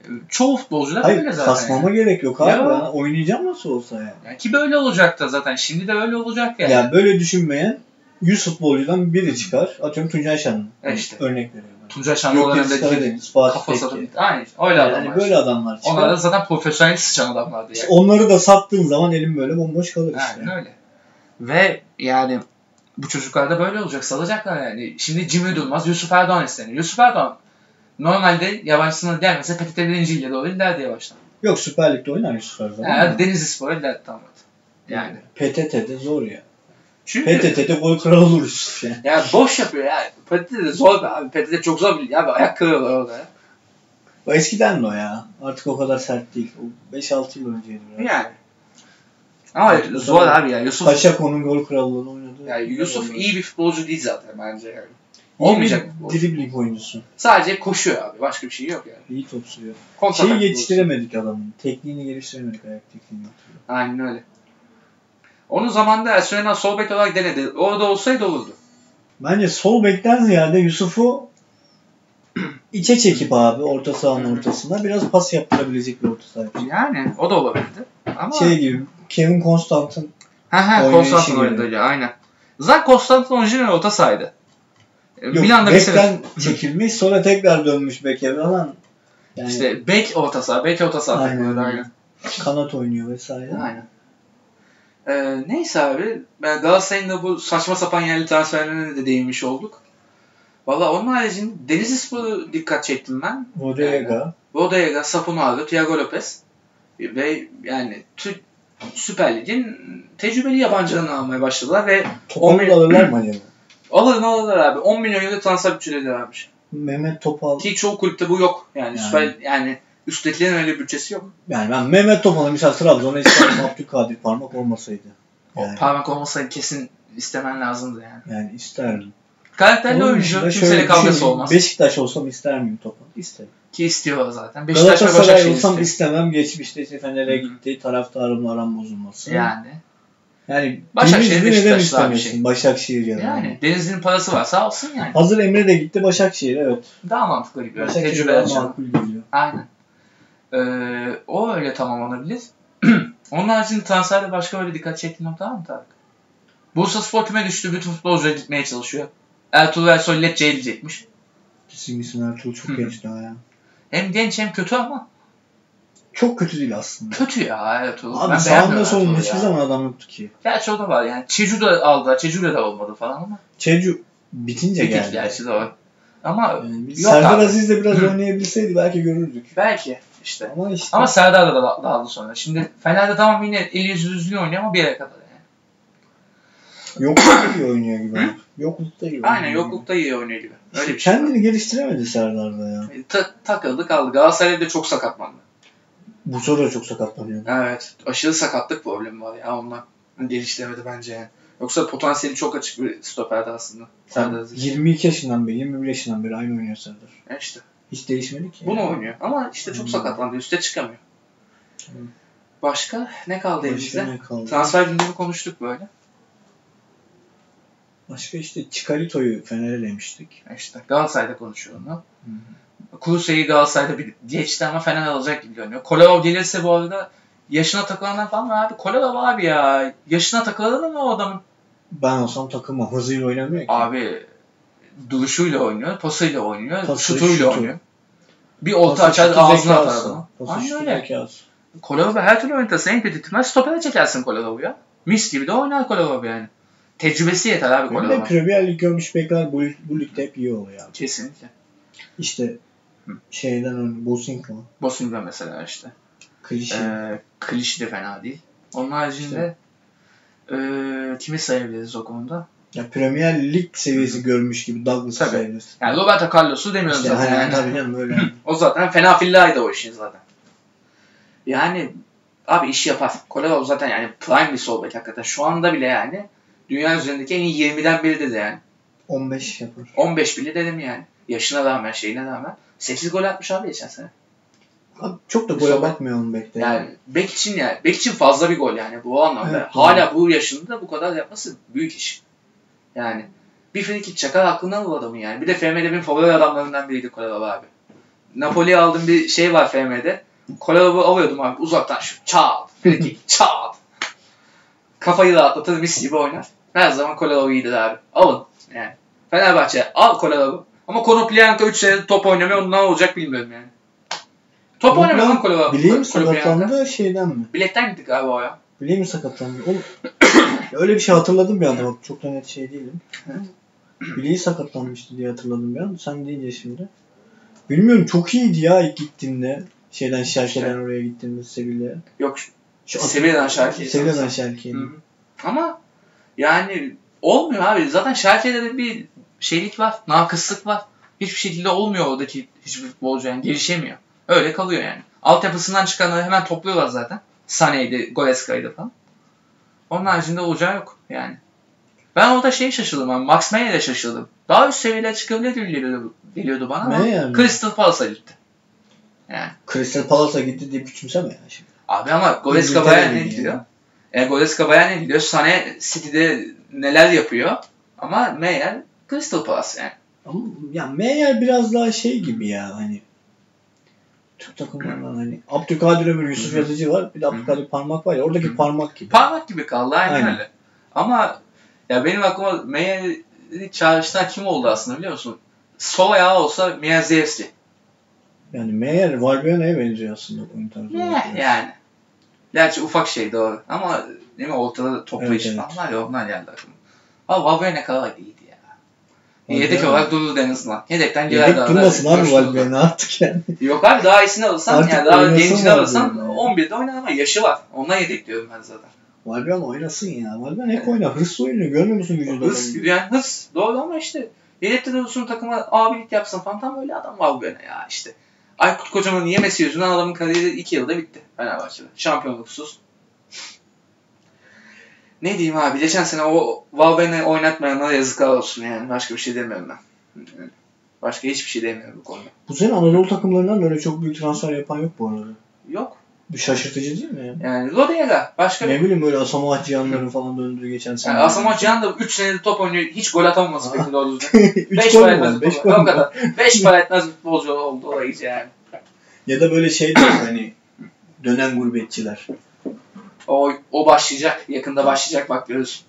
Speaker 1: e, çoğu futbolcular
Speaker 2: Hayır
Speaker 1: böyle zaten.
Speaker 2: kasmama gerek yok abi.
Speaker 1: Ya.
Speaker 2: Ben oynayacağım nasıl olsa yani.
Speaker 1: yani. Yani Ki böyle olacak da zaten. Şimdi de öyle olacak yani.
Speaker 2: Yani böyle düşünmeyen 100 futbolcudan biri çıkar. Atıyorum Tuncay Şanlı.
Speaker 1: E işte.
Speaker 2: Örnek veriyorum.
Speaker 1: Tuncay Şanlı
Speaker 2: Yok
Speaker 1: o
Speaker 2: hepsi
Speaker 1: dönemde
Speaker 2: Karadeniz, Fatih
Speaker 1: kafası
Speaker 2: Tekke.
Speaker 1: atıp Aynen öyle
Speaker 2: Yani
Speaker 1: adamlar.
Speaker 2: böyle adamlar çıkar.
Speaker 1: Onlar da zaten profesyonel sıçan adamlardı
Speaker 2: İşte
Speaker 1: yani.
Speaker 2: onları da sattığın zaman elim böyle bomboş kalır işte.
Speaker 1: Aynen öyle. Ve yani bu çocuklar da böyle olacak. Salacaklar yani. Şimdi Jimmy Durmaz, Yusuf Erdoğan isteniyor. Yusuf Erdoğan normalde yabancı sınırı gelmese Petite Birinci'yle doğru ilerdi yavaştan.
Speaker 2: Yok Süper Lig'de oynar Yusuf Erdoğan.
Speaker 1: Yani Denizli Spor'a ilerdi tam olarak. Yani.
Speaker 2: PTT'de zor ya.
Speaker 1: Çünkü
Speaker 2: PTT'de gol kralı olur Yusuf yani.
Speaker 1: Ya boş yapıyor ya. Petite de zor be abi. Petite de çok zor bir ya. Ayak kırıyorlar orada ya.
Speaker 2: O eskiden de o ya. Artık o kadar sert değil. O 5-6 yıl önceydi. biraz.
Speaker 1: Yani. Ama
Speaker 2: Evet,
Speaker 1: zor
Speaker 2: tabii.
Speaker 1: abi ya. Yusuf
Speaker 2: Paşak onun gol krallığını oynadı.
Speaker 1: ya Yusuf iyi bir futbolcu değil zaten bence yani.
Speaker 2: Olmayacak.
Speaker 1: Olmayacak. bir futbolcu.
Speaker 2: Dribbling oyuncusu.
Speaker 1: Sadece koşuyor abi. Başka bir şey yok yani.
Speaker 2: İyi top sürüyor.
Speaker 1: Kontra
Speaker 2: Şeyi
Speaker 1: atak
Speaker 2: yetiştiremedik adamın. Tekniğini geliştiremedik ayak tekniğini.
Speaker 1: futbolcu. Aynen öyle. Onun zamanında Ersun sohbet olarak denedi. Orada olsaydı olurdu.
Speaker 2: Bence sol bekten ziyade Yusuf'u içe çekip abi orta sahanın ortasına biraz pas yaptırabilecek bir orta saha. yapacak.
Speaker 1: Yani o da olabilirdi. Ama
Speaker 2: Şey gibi Kevin Constant'ın
Speaker 1: Ha ha
Speaker 2: Oynayışı
Speaker 1: Konstantin
Speaker 2: gibi.
Speaker 1: oynadı öyle aynen. Zaten Konstantin orijinal orta sahaydı.
Speaker 2: Yok,
Speaker 1: bir anda bir sebep.
Speaker 2: Bek'ten çekilmiş sonra tekrar dönmüş Bek'e falan. Yani
Speaker 1: İşte bek orta saha, bek orta saha
Speaker 2: Aynen.
Speaker 1: takımları da aynen.
Speaker 2: kanat oynuyor vesaire.
Speaker 1: Aynen. Ee, neyse abi ben Galatasaray'ın da bu saçma sapan yerli transferlerine de değinmiş olduk. Valla onun haricinde Denizli Spor'u dikkat çektim ben.
Speaker 2: Rodega.
Speaker 1: Rodayega, Sapunaga, Thiago Lopez ve yani Türk Süper Lig'in tecrübeli yabancılarını almaya başladılar ve
Speaker 2: Topal
Speaker 1: Omi-
Speaker 2: da alırlar mı acaba?
Speaker 1: alırlar alırlar abi. 10 milyon euro transfer bütçeleri varmış.
Speaker 2: Mehmet Topal.
Speaker 1: Ki çoğu kulüpte bu yok. Yani,
Speaker 2: Yani.
Speaker 1: Süper yani üsttekilerin öyle bütçesi yok.
Speaker 2: Yani ben Mehmet Topal'ı mesela Trabzon'a isterdim Abdülkadir Parmak olmasaydı. Yani,
Speaker 1: O parmak olmasa kesin istemen lazımdı yani.
Speaker 2: yani isterdim.
Speaker 1: Karakterli
Speaker 2: Onun
Speaker 1: oyuncu
Speaker 2: dışında şöyle şey,
Speaker 1: kimseyle kavgası
Speaker 2: düşünün,
Speaker 1: olmaz.
Speaker 2: Beşiktaş olsam ister miyim Topal? İsterim.
Speaker 1: Ki istiyorlar zaten. Beşiktaş ve
Speaker 2: Galatasaray
Speaker 1: Başakşehir
Speaker 2: olsam
Speaker 1: istiyor.
Speaker 2: istemem. Geçmişte işte Fener'e
Speaker 1: Hı hı.
Speaker 2: gitti. Taraftarımla aram bozulması.
Speaker 1: Yani.
Speaker 2: Yani
Speaker 1: Başakşehir,
Speaker 2: Başakşehir neden
Speaker 1: Beşiktaş'la bir
Speaker 2: istemiyorsun? Başakşehir yani.
Speaker 1: Yani Denizli'nin parası varsa alsın yani.
Speaker 2: Hazır Emre de gitti Başakşehir evet.
Speaker 1: Daha mantıklı gibi. Yani
Speaker 2: Başakşehir
Speaker 1: Tecrübe
Speaker 2: daha
Speaker 1: açısından.
Speaker 2: makul geliyor.
Speaker 1: Aynen. Ee, o öyle tamamlanabilir. Onun haricinde transferde başka böyle dikkat çektiğin nokta var mı Tarık? Bursa Spor küme düştü. Bütün futbolcuya gitmeye çalışıyor. Ertuğrul Ersoy Lecce'ye gidecekmiş.
Speaker 2: Kesin isim Ertuğrul
Speaker 1: Hı
Speaker 2: çok
Speaker 1: hı.
Speaker 2: genç daha ya.
Speaker 1: Hem genç hem kötü ama
Speaker 2: Çok kötü değil aslında.
Speaker 1: kötü ya Ertuğrul.
Speaker 2: Abi
Speaker 1: ben
Speaker 2: sağında
Speaker 1: beğenmiyorum
Speaker 2: solunda
Speaker 1: Ertuğrul'u
Speaker 2: hiçbir
Speaker 1: ya.
Speaker 2: zaman adam yoktu ki.
Speaker 1: Gerçi o da var yani. Çecu da aldı. Çecu da olmadı falan ama.
Speaker 2: Çecu bitince
Speaker 1: Bir tek
Speaker 2: geldi.
Speaker 1: gerçi de var. Ama
Speaker 2: Yani biz
Speaker 1: Yok
Speaker 2: Serdar
Speaker 1: abi.
Speaker 2: Aziz de biraz
Speaker 1: Hı.
Speaker 2: oynayabilseydi belki görürdük.
Speaker 1: belki işte.
Speaker 2: Ama işte
Speaker 1: Ama Serdar da da- dağıldı sonra. Şimdi Fener'de tamam yine el yüzü düzgün oynuyor ama bir yere kadar yani.
Speaker 2: yoklukta iyi oynuyor gibi. yoklukta iyi oynuyor.
Speaker 1: Aynen yoklukta iyi oynuyor gibi. Öyle
Speaker 2: İşte
Speaker 1: bir şey var.
Speaker 2: Kendini geliştiremedi Serdar'da ya.
Speaker 1: Ta- takıldı kaldı. Galatasaray'da çok sakatlandı.
Speaker 2: Bursa da çok sakatlanıyor.
Speaker 1: Evet. Aşırı sakatlık problemi var ya ondan. Geliştiremedi bence yani. Yoksa potansiyeli çok açık bir stoperdi aslında. Sen de
Speaker 2: Sen 22 yaşından beri, 21 yaşından beri aynı oynuyor Serdar.
Speaker 1: Ya işte.
Speaker 2: Hiç değişmedi ki.
Speaker 1: Bunu oynuyor. Ama işte çok
Speaker 2: Hmm.
Speaker 1: sakatlandı. Üste çıkamıyor.
Speaker 2: Hmm.
Speaker 1: Başka ne kaldı
Speaker 2: Başka
Speaker 1: elimizde?
Speaker 2: ne kaldı?
Speaker 1: Transfer gündemi konuştuk böyle.
Speaker 2: Başka işte Çikalito'yu Fener'e demiştik.
Speaker 1: Ya İşte Galatasaray'da konuşuyor onu.
Speaker 2: Hmm.
Speaker 1: Kuluse'yi Galatasaray'da bir geçti ama Fener alacak gibi görünüyor. Kolarov gelirse bu arada yaşına takılanlar falan var abi. Kolarov abi ya. Yaşına takılanı mı o adamın?
Speaker 2: Ben olsam takıma hızıyla oynamıyor ki.
Speaker 1: Abi duruşuyla oynuyor, pasıyla oynuyor,
Speaker 2: Pası,
Speaker 1: şutuyla
Speaker 2: şutu.
Speaker 1: oynuyor. Bir olta
Speaker 2: Pası
Speaker 1: açar
Speaker 2: şutu
Speaker 1: ağzına
Speaker 2: zeki
Speaker 1: atar
Speaker 2: alsın.
Speaker 1: adamı.
Speaker 2: Pası
Speaker 1: Aynen
Speaker 2: şutu
Speaker 1: öyle.
Speaker 2: zeki alsın.
Speaker 1: Kolarova her türlü oynatırsa en kötü ihtimal stopere çekersin Kolarova'yı. ya. Mis gibi de oynar Kolarova yani. Tecrübesi yeter abi
Speaker 2: Benim de
Speaker 1: Kolarova.
Speaker 2: Premier Lig görmüş bekler bu, bu ligde hep iyi oluyor abi.
Speaker 1: Kesinlikle.
Speaker 2: İşte
Speaker 1: Hı.
Speaker 2: şeyden önce Bosinko,
Speaker 1: Bosinga mesela işte.
Speaker 2: Klişe.
Speaker 1: Ee, klişi de fena değil. Onun haricinde ee, kimi sayabiliriz o konuda?
Speaker 2: Ya Premier Lig seviyesi görmüş gibi Douglas'ı
Speaker 1: Tabii.
Speaker 2: sayabilirsin.
Speaker 1: Yani Roberto Carlos'u demiyorum
Speaker 2: İşte
Speaker 1: zaten.
Speaker 2: hani
Speaker 1: yani.
Speaker 2: tabii canım öyle.
Speaker 1: O zaten fena fillaydı o işin zaten. Yani abi iş yapar. Kolarov zaten yani prime bir sol bek hakikaten. Şu anda bile yani dünya üzerindeki en iyi 20'den biridir de yani.
Speaker 2: 15 yapar.
Speaker 1: 15 bile dedim yani. Yaşına rağmen şeyine rağmen. 8 gol atmış abi geçen sene.
Speaker 2: Abi çok da
Speaker 1: Sol bek.
Speaker 2: gole bakmıyor onun bekle.
Speaker 1: Yani bek için yani. Bek için fazla bir gol yani bu anlamda.
Speaker 2: Evet,
Speaker 1: Hala bu yaşında bu kadar yapması büyük iş. Yani bir frikik çakar aklından bu adamın yani. Bir de FM'de favori adamlarından biriydi Kolarov abi. Napoli'ye aldığım bir şey var FM'de. Kolarov'u alıyordum abi uzaktan şu çat, frikik çat. Kafayı rahatlatır mis gibi oynar. Her zaman Kolarov iyidir abi. Alın yani. Fenerbahçe al Kolarov'u. Ama Konoplyanka 3 senedir top oynamıyor. Ondan olacak bilmiyorum yani. Top
Speaker 2: Konoply-
Speaker 1: oynamıyor lan Kolarov.
Speaker 2: Bileğim
Speaker 1: Konoplyanka.
Speaker 2: sakatlandı şeyden mi?
Speaker 1: Bilekten gittik abi o ya.
Speaker 2: Bileğim sakatlandı. Oğlum, ya öyle bir şey hatırladım bir anda. Bak çok da net şey değilim. Bileği sakatlanmıştı diye hatırladım bir anda. Sen deyince şimdi. Bilmiyorum çok iyiydi ya ilk gittiğimde. Şeyden Şerke'den oraya gittiğimde Sevilla'ya.
Speaker 1: Yok şu-
Speaker 2: Şu-
Speaker 1: Sevilla'dan Şalke'ye.
Speaker 2: Sevilla'dan Şerke'ye.
Speaker 1: Hı. Ama yani olmuyor abi. Zaten Şalke'de de bir şeylik var. Nakıslık var. Hiçbir şekilde olmuyor oradaki hiçbir futbolcu yani. Gelişemiyor. Öyle kalıyor yani. Altyapısından çıkanları hemen topluyorlar zaten. Sane'ydi, Goleska'ydı falan. Onun haricinde olacağı yok yani. Ben orada şey şaşırdım abi. Max Meyer'e şaşırdım. Daha üst seviyelere çıkabilir geliyordu, geliyordu bana ama
Speaker 2: Meyer mi?
Speaker 1: Crystal Palace'a gitti. Yani
Speaker 2: Crystal Palace'a gitti diye küçümseme ya şimdi.
Speaker 1: Abi ama Goretzka
Speaker 2: İngiltere
Speaker 1: Bayern'e
Speaker 2: Ligi
Speaker 1: gidiyor. E, Goretzka Bayern'e gidiyor. Sane City'de neler yapıyor. Ama Meyer Crystal Palace yani.
Speaker 2: Ama ya Meyer biraz daha şey gibi ya hani Türk takımlarından hani Abdülkadir Ömür, Yusuf
Speaker 1: Hı hı.
Speaker 2: Yazıcı var. Bir de Abdülkadir Parmak var ya. Oradaki
Speaker 1: Hı hı.
Speaker 2: parmak gibi.
Speaker 1: Parmak gibi kaldı aynen,
Speaker 2: Aynen.
Speaker 1: öyle. Ama ya benim aklıma Meyer çağrıştıran kim oldu aslında biliyor musun? Sol ayağı olsa Miyazevski.
Speaker 2: Yani meğer Valbuena'ya benziyor aslında oyun tarzı. olarak.
Speaker 1: Yani. Gerçi ufak şey doğru. Ama değil mi ortada toplayış
Speaker 2: Evet,
Speaker 1: evet,
Speaker 2: evet.
Speaker 1: falan var ya ondan geldi aklıma. Abi Valbuena kadar iyiydi ya.
Speaker 2: Valbuena-
Speaker 1: Yedek olarak durur en azından. Yedekten girerdi.
Speaker 2: Yedek
Speaker 1: arada.
Speaker 2: durmasın abi
Speaker 1: Boş dururdu.
Speaker 2: Valbuena artık yani.
Speaker 1: Yok abi daha iyisini alırsan
Speaker 2: Artık
Speaker 1: yani daha
Speaker 2: oynasın
Speaker 1: gençini
Speaker 2: Valbuena
Speaker 1: alırsan
Speaker 2: ya.
Speaker 1: 11'de oynar ama yaşı var. Ondan yedek diyorum ben zaten.
Speaker 2: Valbuena oynasın ya. Valbuena hep oynar. Hırslı oynuyor. Görmüyor musun vücudu?
Speaker 1: Hız, yani hız doğru ama işte yedekte dursun takıma abilik yapsın falan tam böyle adam Valbuena ya işte. Aykut Kocaman'ın yemesi yüzünden adamın kariyeri 2 yılda bitti Fenerbahçe'de. Şampiyonluksuz. Ne diyeyim abi geçen sene o Valbuena'yı oynatmayanlara yazıklar olsun yani başka bir şey demiyorum ben. Başka hiçbir şey demiyorum bu konuda.
Speaker 2: Bu sene Anadolu takımlarından böyle çok büyük transfer yapan yok bu arada.
Speaker 1: Yok
Speaker 2: Bir şaşırtıcı değil mi ya?
Speaker 1: yani Lodeya'da başka bir
Speaker 2: Ne bileyim böyle Asamoah Cihan'ların falan döndüğü geçen sene.
Speaker 1: yani Asamoah Cihan da 3 senedir top oynuyor. Hiç gol atamaması peki doğru düzgün.
Speaker 2: 3
Speaker 1: 5
Speaker 2: gol
Speaker 1: gol
Speaker 2: mü
Speaker 1: etmez. 5
Speaker 2: var? 5
Speaker 1: gol
Speaker 2: gol mü var?
Speaker 1: kadar. 5 gol etmez futbolcu oldu o iyice yani.
Speaker 2: Ya da böyle şey değil hani dönen gurbetçiler.
Speaker 1: O, o başlayacak. Yakında başlayacak bak görürüz.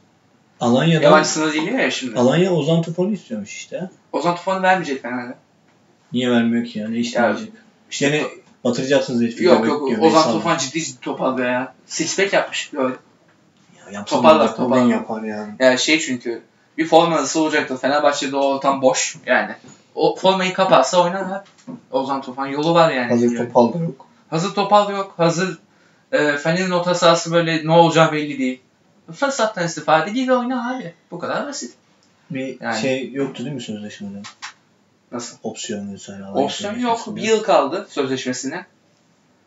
Speaker 2: Alanya'dan
Speaker 1: Yabancı sınırı değil ya şimdi.
Speaker 2: Alanya Ozan Tufan'ı istiyormuş işte.
Speaker 1: Ozan Tufan'ı vermeyecek Fener'de.
Speaker 2: Niye vermiyor ki yani? Ne isteyecek?
Speaker 1: İşte
Speaker 2: Gene batıracaksınız hiçbir
Speaker 1: yok yok Ozan Tufan ciddi ciddi topaldı ya. Sixpack yapmış. Gördüm. Toparlar,
Speaker 2: Toparlar
Speaker 1: toparlar.
Speaker 2: toparlar. yapar yani.
Speaker 1: Yani şey çünkü bir forma nasıl olacaktı? Fenerbahçe'de o ortam boş yani. O formayı kapatsa oynar ha. Ozan Tufan yolu var yani.
Speaker 2: Hazır topal da yok.
Speaker 1: Hazır topal yok. Hazır e, Fener'in orta sahası böyle ne olacağı belli değil. Fırsattan istifade gibi oyna abi. Bu kadar basit.
Speaker 2: Bir
Speaker 1: Yani.
Speaker 2: şey yoktu değil mi sözleşmede?
Speaker 1: Nasıl?
Speaker 2: Opsiyon vesaire. Alanya
Speaker 1: Opsiyon yok.
Speaker 2: sözleşmesinde.
Speaker 1: Bir yıl kaldı sözleşmesine.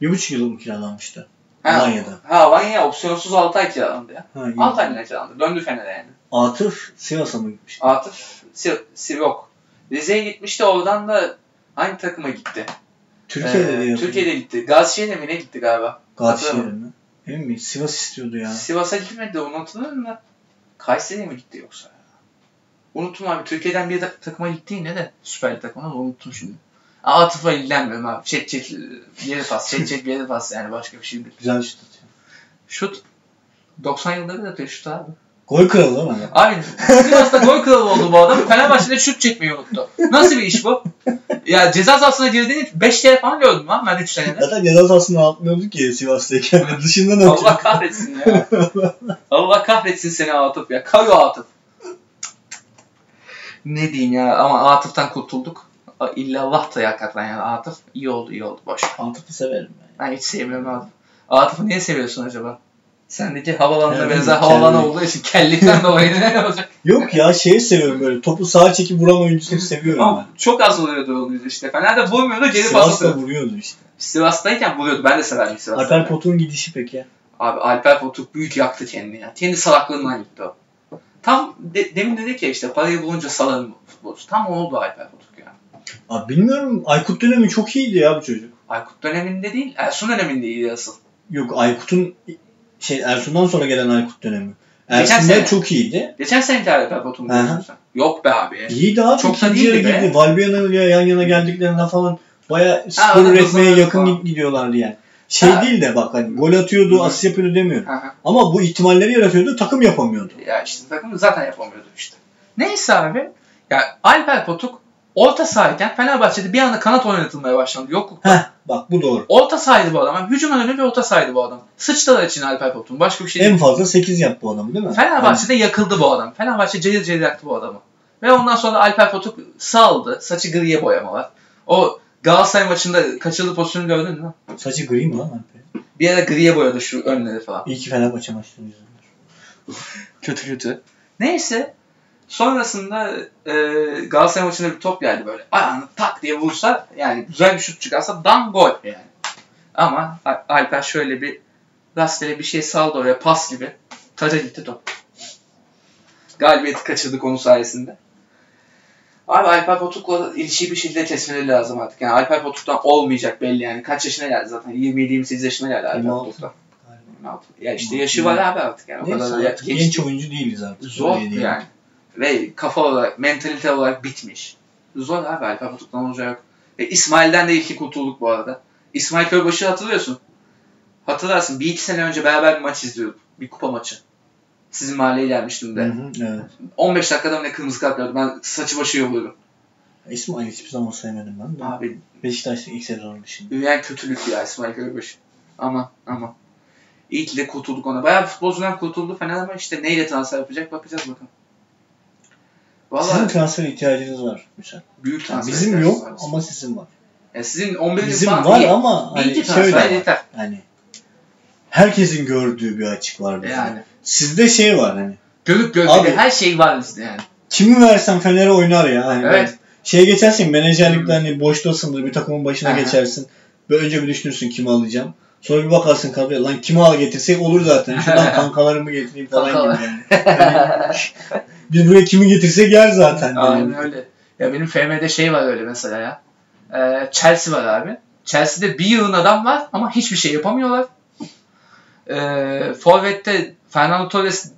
Speaker 2: Bir buçuk yıl mı kiralanmıştı?
Speaker 1: Ha,
Speaker 2: Alanya'da.
Speaker 1: Ha Alanya opsiyonsuz 6 ay kiralandı ya.
Speaker 2: Ha, iyi.
Speaker 1: 6 aylığına kiralandı. Döndü Fener'e yani.
Speaker 2: Atıf Sivas'a mı gitmişti?
Speaker 1: Atıf Si- Sivok. Rize'ye gitmişti oradan da hangi takıma gitti?
Speaker 2: Türkiye'de
Speaker 1: Ee,
Speaker 2: diye.
Speaker 1: Türkiye'de gitti. Gazişehir'e mi ne gitti galiba?
Speaker 2: Galatasaray'a
Speaker 1: Hatırlamıyorum.
Speaker 2: mı? Emin miyim? Sivas istiyordu ya.
Speaker 1: Sivas'a gitmedi de onu hatırlıyor musun? Kayseri'ye mi gitti yoksa? Unuttum abi. Türkiye'den bir ta- takıma gitti yine de. Süper Lig takımına da unuttum şimdi. Aa, Atıf'la ilgilenmiyorum abi. Çek çek bir yere pas. Çek çek bir yere pas yani başka bir şey değil.
Speaker 2: Güzel şut atıyor.
Speaker 1: Şut. 90 yılda bir atıyor şut abi.
Speaker 2: Gol kralı lan adam.
Speaker 1: Abi Sivas'ta gol kralı oldu bu adam. Fenerbahçe'de şut çekmeyi unuttu. Nasıl bir iş bu? Ya ceza sahasına girdiğini 5 kere falan gördüm lan ben 3 senede.
Speaker 2: Zaten ceza sahasına atmıyordu ki Sivas'tayken. Dışında ne
Speaker 1: Allah
Speaker 2: yapacak?
Speaker 1: kahretsin ya. Allah kahretsin seni Atıf ya. Kayo Atıf. Ne diyeyim ya ama Atıf'tan kurtulduk. A- İllallah da hakikaten yani Atıf. iyi oldu iyi oldu boş. ver.
Speaker 2: Atıf'ı severim ben.
Speaker 1: Ben hiç sevmiyorum Atıf. Atıf'ı niye seviyorsun acaba? Sendeki havalanına
Speaker 2: Kellik,
Speaker 1: benzer havalan
Speaker 2: kellik.
Speaker 1: olduğu için kellikten dolayı ne olacak?
Speaker 2: Yok ya şeyi seviyorum böyle. Topu sağa çekip vuran oyuncusunu seviyorum
Speaker 1: Ama
Speaker 2: ben.
Speaker 1: çok az oluyordu onun yüzü işte. Fener'de vurmuyordu geri pas
Speaker 2: Sivas'ta
Speaker 1: atıyordu.
Speaker 2: vuruyordu işte.
Speaker 1: Sivas'tayken vuruyordu. Ben de severdim Sivas'ta.
Speaker 2: Alper Potuk'un gidişi peki.
Speaker 1: Abi Alper Potuk büyük yaktı kendini ya. Kendi salaklığından gitti o. Tam de, demin dedik ya işte parayı bulunca salarım futbolcu. Tam oldu Alper Potuk ya.
Speaker 2: Abi bilmiyorum Aykut dönemi çok iyiydi ya bu çocuk.
Speaker 1: Aykut döneminde değil, Ersun döneminde iyi asıl.
Speaker 2: Yok Aykut'un şey Ersun'dan sonra gelen Aykut dönemi.
Speaker 1: Geçen
Speaker 2: Ersun'da
Speaker 1: sene.
Speaker 2: çok iyiydi.
Speaker 1: Geçen seneki Alper Potuk'u
Speaker 2: Aha.
Speaker 1: biliyorsun sen. Yok be abi.
Speaker 2: İyiydi abi.
Speaker 1: Çok da
Speaker 2: Çok İkinci yere
Speaker 1: değildi be.
Speaker 2: girdi. Valbuena ile yan yana geldiklerinde falan baya skor
Speaker 1: orada
Speaker 2: üretmeye
Speaker 1: kazanıyordu
Speaker 2: yakın
Speaker 1: falan.
Speaker 2: gi- gidiyorlardı yani. Şey
Speaker 1: Ha.
Speaker 2: değil de bak hani gol atıyordu,
Speaker 1: Hı.
Speaker 2: asist yapıyordu demiyorum.
Speaker 1: Aha.
Speaker 2: Ama bu ihtimalleri yaratıyordu, takım yapamıyordu.
Speaker 1: Ya işte takım zaten yapamıyordu işte. Neyse abi. Ya Alper Potuk orta sahayken Fenerbahçe'de bir anda kanat oynatılmaya başlandı. Yokluk
Speaker 2: Heh bak bu doğru.
Speaker 1: Orta sahaydı bu adam. Hücum önünde bir orta sahaydı bu adam. Sıçtılar için Alper Potuk'un. Başka bir şey
Speaker 2: En
Speaker 1: değil.
Speaker 2: fazla 8 yaptı bu adam değil mi?
Speaker 1: Fenerbahçe'de yakıldı bu adam. Fenerbahçe celil celil yaktı bu adamı. Ve ondan sonra Alper Potuk saldı. Saçı griye boyamalar. O Galatasaray maçında kaçırdığı pozisyonu gördün mü?
Speaker 2: Yani saçı gri mi lan Alper?
Speaker 1: Bir ara griye boyadı şu önleri falan.
Speaker 2: İyi ki Fenerbahçe maçlarını izledim.
Speaker 1: Kötü kötü. Neyse. Sonrasında e, Galatasaray maçında bir top geldi böyle. Ayağını tak diye vursa yani güzel bir şut çıkarsa dan gol yani. Ama Al- Alper şöyle bir rastgele bir şey saldı oraya pas gibi. Taca gitti top. Galibiyeti kaçırdık onun sayesinde. Abi Alper Potuk'la ilişkiyi bir şekilde kesmeleri lazım artık. Yani Alper Potuk'tan olmayacak belli yani. Kaç yaşına geldi zaten? 27-28 yaşına geldi Alper
Speaker 2: 26.
Speaker 1: Potuk'tan.
Speaker 2: Galiba.
Speaker 1: 16. Ya işte yaşı var abi artık yani. O
Speaker 2: Neyse
Speaker 1: kadar da
Speaker 2: artık genç,
Speaker 1: genç
Speaker 2: oyuncu değiliz artık.
Speaker 1: Zor
Speaker 2: Öyle değil.
Speaker 1: yani. Ve kafa olarak, mentalite olarak bitmiş. Zor abi Alper Potuk'tan olacağı yok. Ve İsmail'den de ilki kurtulduk bu arada. İsmail Köybaşı'yı hatırlıyorsun. Hatırlarsın bir iki sene önce beraber bir maç izliyorduk. Bir kupa maçı. Sizin mahalleye gelmiştim
Speaker 2: Hı
Speaker 1: de.
Speaker 2: hı, evet.
Speaker 1: 15 dakikada mı ne kırmızı kart gördüm. Ben saçı başı yoluyorum.
Speaker 2: İsmail hiçbir zaman sevmedim ben. de.
Speaker 1: Abi
Speaker 2: Beşiktaş'ta ilk sezonu dışında.
Speaker 1: dünya kötülük ya İsmail Köybaşı. Ama ama. İyi ki de kurtulduk ona. Bayağı bir futbolcudan kurtuldu Fener ama işte neyle transfer yapacak bakacağız bakalım.
Speaker 2: Sizin
Speaker 1: Vallahi
Speaker 2: transfer ihtiyacınız var. Mesela.
Speaker 1: büyük
Speaker 2: Yani
Speaker 1: transfer.
Speaker 2: bizim
Speaker 1: ihtiyacı
Speaker 2: yok
Speaker 1: var.
Speaker 2: ama sizin var.
Speaker 1: Ya sizin 11
Speaker 2: Bizim var ama
Speaker 1: Bir iki
Speaker 2: hani
Speaker 1: transfer
Speaker 2: şöyle var.
Speaker 1: yeter.
Speaker 2: Hani herkesin gördüğü bir açık var. bizim.
Speaker 1: Yani.
Speaker 2: Sizde şey var hani.
Speaker 1: Gölük
Speaker 2: Abi-
Speaker 1: gölgede her şey var bizde yani.
Speaker 2: Kimi versen Fener'e oynar ya. Hani
Speaker 1: Evet.
Speaker 2: ben- Şeye geçersin menajerlikte
Speaker 1: Hı.
Speaker 2: hani boştasındır bir takımın başına
Speaker 1: Aha.
Speaker 2: geçersin. Böyle önce bir düşünürsün kimi alacağım. Sonra bir bakarsın kadroya lan kimi al getirsek olur zaten. Şuradan kankalarımı getireyim falan gibi yani. Hani, biz buraya kimi getirsek yer zaten.
Speaker 1: Aynen
Speaker 2: yani.
Speaker 1: öyle. Ya benim FM'de şey var öyle mesela ya. Ee, Chelsea var abi. Chelsea'de bir yığın adam var ama hiçbir şey yapamıyorlar. Ee, Forvet'te Fernando Torres,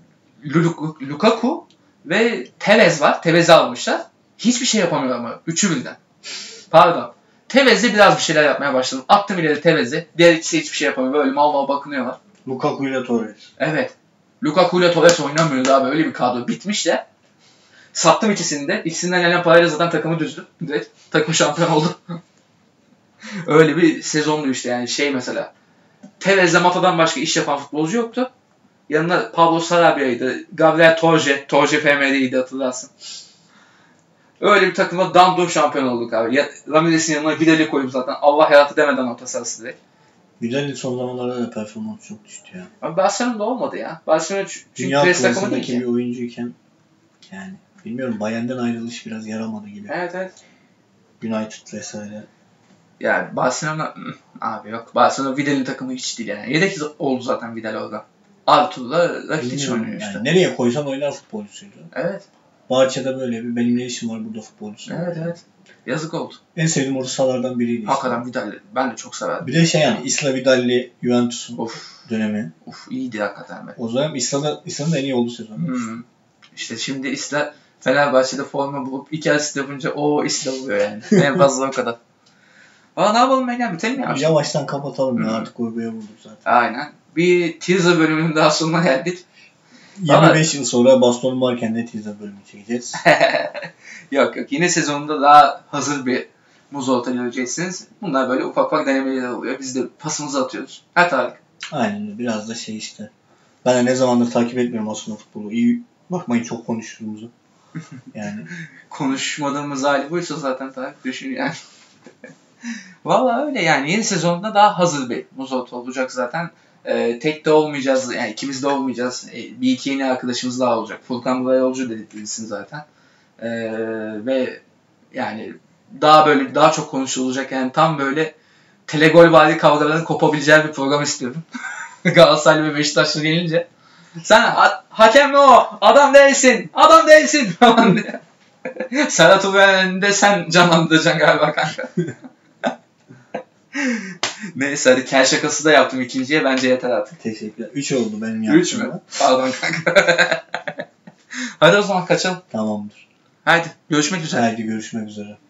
Speaker 1: Lu- Lukaku ve Tevez var. Tevez'i almışlar. Hiçbir şey yapamıyor ama. Üçü birden. Pardon. Tevez'le biraz bir şeyler yapmaya başladım. Attım ileri Tevez'i. Diğer ikisi hiçbir şey yapamıyor. Böyle mal mal bakınıyorlar.
Speaker 2: Lukaku ile Torres.
Speaker 1: Evet. Lukaku ile Torres oynamıyordu abi. Öyle bir kadro. Bitmiş de. Sattım ikisini de. İkisinden gelen parayla zaten takımı düzdüm. Direkt takım şampiyon oldu. Öyle bir sezondu işte yani şey mesela. Tevez'le Mata'dan başka iş yapan futbolcu yoktu. Yanına Pablo Sarabia'ydı. Gabriel Torje. Torje FM'deydi hatırlarsın. Öyle bir takımda dandum şampiyon olduk abi. Ya, Ramirez'in yanına Vidal'i koyup zaten Allah hayatı demeden orta sahası direkt.
Speaker 2: Güzel son zamanlarda da performans çok düştü ya.
Speaker 1: Abi Barcelona'da olmadı ya. Barcelona ç- çünkü
Speaker 2: Dünya
Speaker 1: pres takımı değil
Speaker 2: klasındaki
Speaker 1: ki.
Speaker 2: bir oyuncuyken yani bilmiyorum Bayern'den ayrılış biraz yaramadı gibi.
Speaker 1: Evet evet.
Speaker 2: United vesaire.
Speaker 1: Yani Barcelona Hı, abi yok. Barcelona Vidal'in takımı hiç değil yani. Yedek oldu zaten Vidal orada. Artur'la Rakitic
Speaker 2: Bilmiyorum
Speaker 1: oynuyor
Speaker 2: yani.
Speaker 1: işte.
Speaker 2: Nereye koysan oynar futbolcusuydu.
Speaker 1: Evet,
Speaker 2: Bahçede böyle bir benim ne işim var burada futbolcusu.
Speaker 1: evet, evet. Yazık oldu.
Speaker 2: En sevdiğim orta sahalardan biriydi. işte.
Speaker 1: Hakikaten Vidal ben de çok severdim.
Speaker 2: Bir de şey yani İsla Vidal'li Juventus'un
Speaker 1: Of,
Speaker 2: dönemi.
Speaker 1: of iyiydi hakikaten be.
Speaker 2: O zaman İsla'da, İsla'nın en iyi olduğu sezonu.
Speaker 1: Hmm. İşte şimdi İsla Fenerbahçe'de forma bulup iki asist yapınca o İsla oluyor yani. en fazla o kadar. Valla ne yapalım Egen bitelim ya.
Speaker 2: Yavaştan kapatalım
Speaker 1: Hı.
Speaker 2: ya artık Gorba'ya vurduk zaten.
Speaker 1: Aynen. Bir teaser bölümünün daha sonuna geldik. Ama-
Speaker 2: 25 yıl sonra baston varken de teaser bölümü çekeceğiz.
Speaker 1: Yok yok yine sezonunda daha hazır bir muz ortaya göreceksiniz. Bunlar böyle ufak ufak denemeler oluyor. Biz de pasımızı atıyoruz. Her tarih.
Speaker 2: Aynen öyle. biraz da şey işte. Ben de ne zamandır takip etmiyorum aslında futbolu. İyi bakmayın çok konuştuğumuzu. Yani
Speaker 1: Konuşmadığımız hali buysa zaten tarih düşün yani. Valla öyle yani yeni sezonda daha hazır bir muz ortaya olacak zaten. Ee, tek de olmayacağız yani ikimiz de olmayacağız. Ee, bir iki yeni arkadaşımız daha olacak. Furkan Bulay Yolcu dedik bilirsin zaten. Ee, ve yani daha böyle daha çok konuşulacak yani tam böyle telegol vali kavgaların kopabileceği bir program istiyorum. Galatasaraylı ve Beşiktaşlı gelince. Sen ha- hakem mi o? Adam değilsin. Adam değilsin falan diye. Serhat Uven'in de sen canlandıracaksın galiba kanka. Neyse hadi kel şakası da yaptım ikinciye bence yeter artık.
Speaker 2: teşekkürler. 3 oldu benim yaptığımda.
Speaker 1: Üç mü? Pardon kanka. hadi o zaman kaçalım.
Speaker 2: Tamamdır.
Speaker 1: Hadi görüşmek üzere.
Speaker 2: Haydi görüşmek üzere.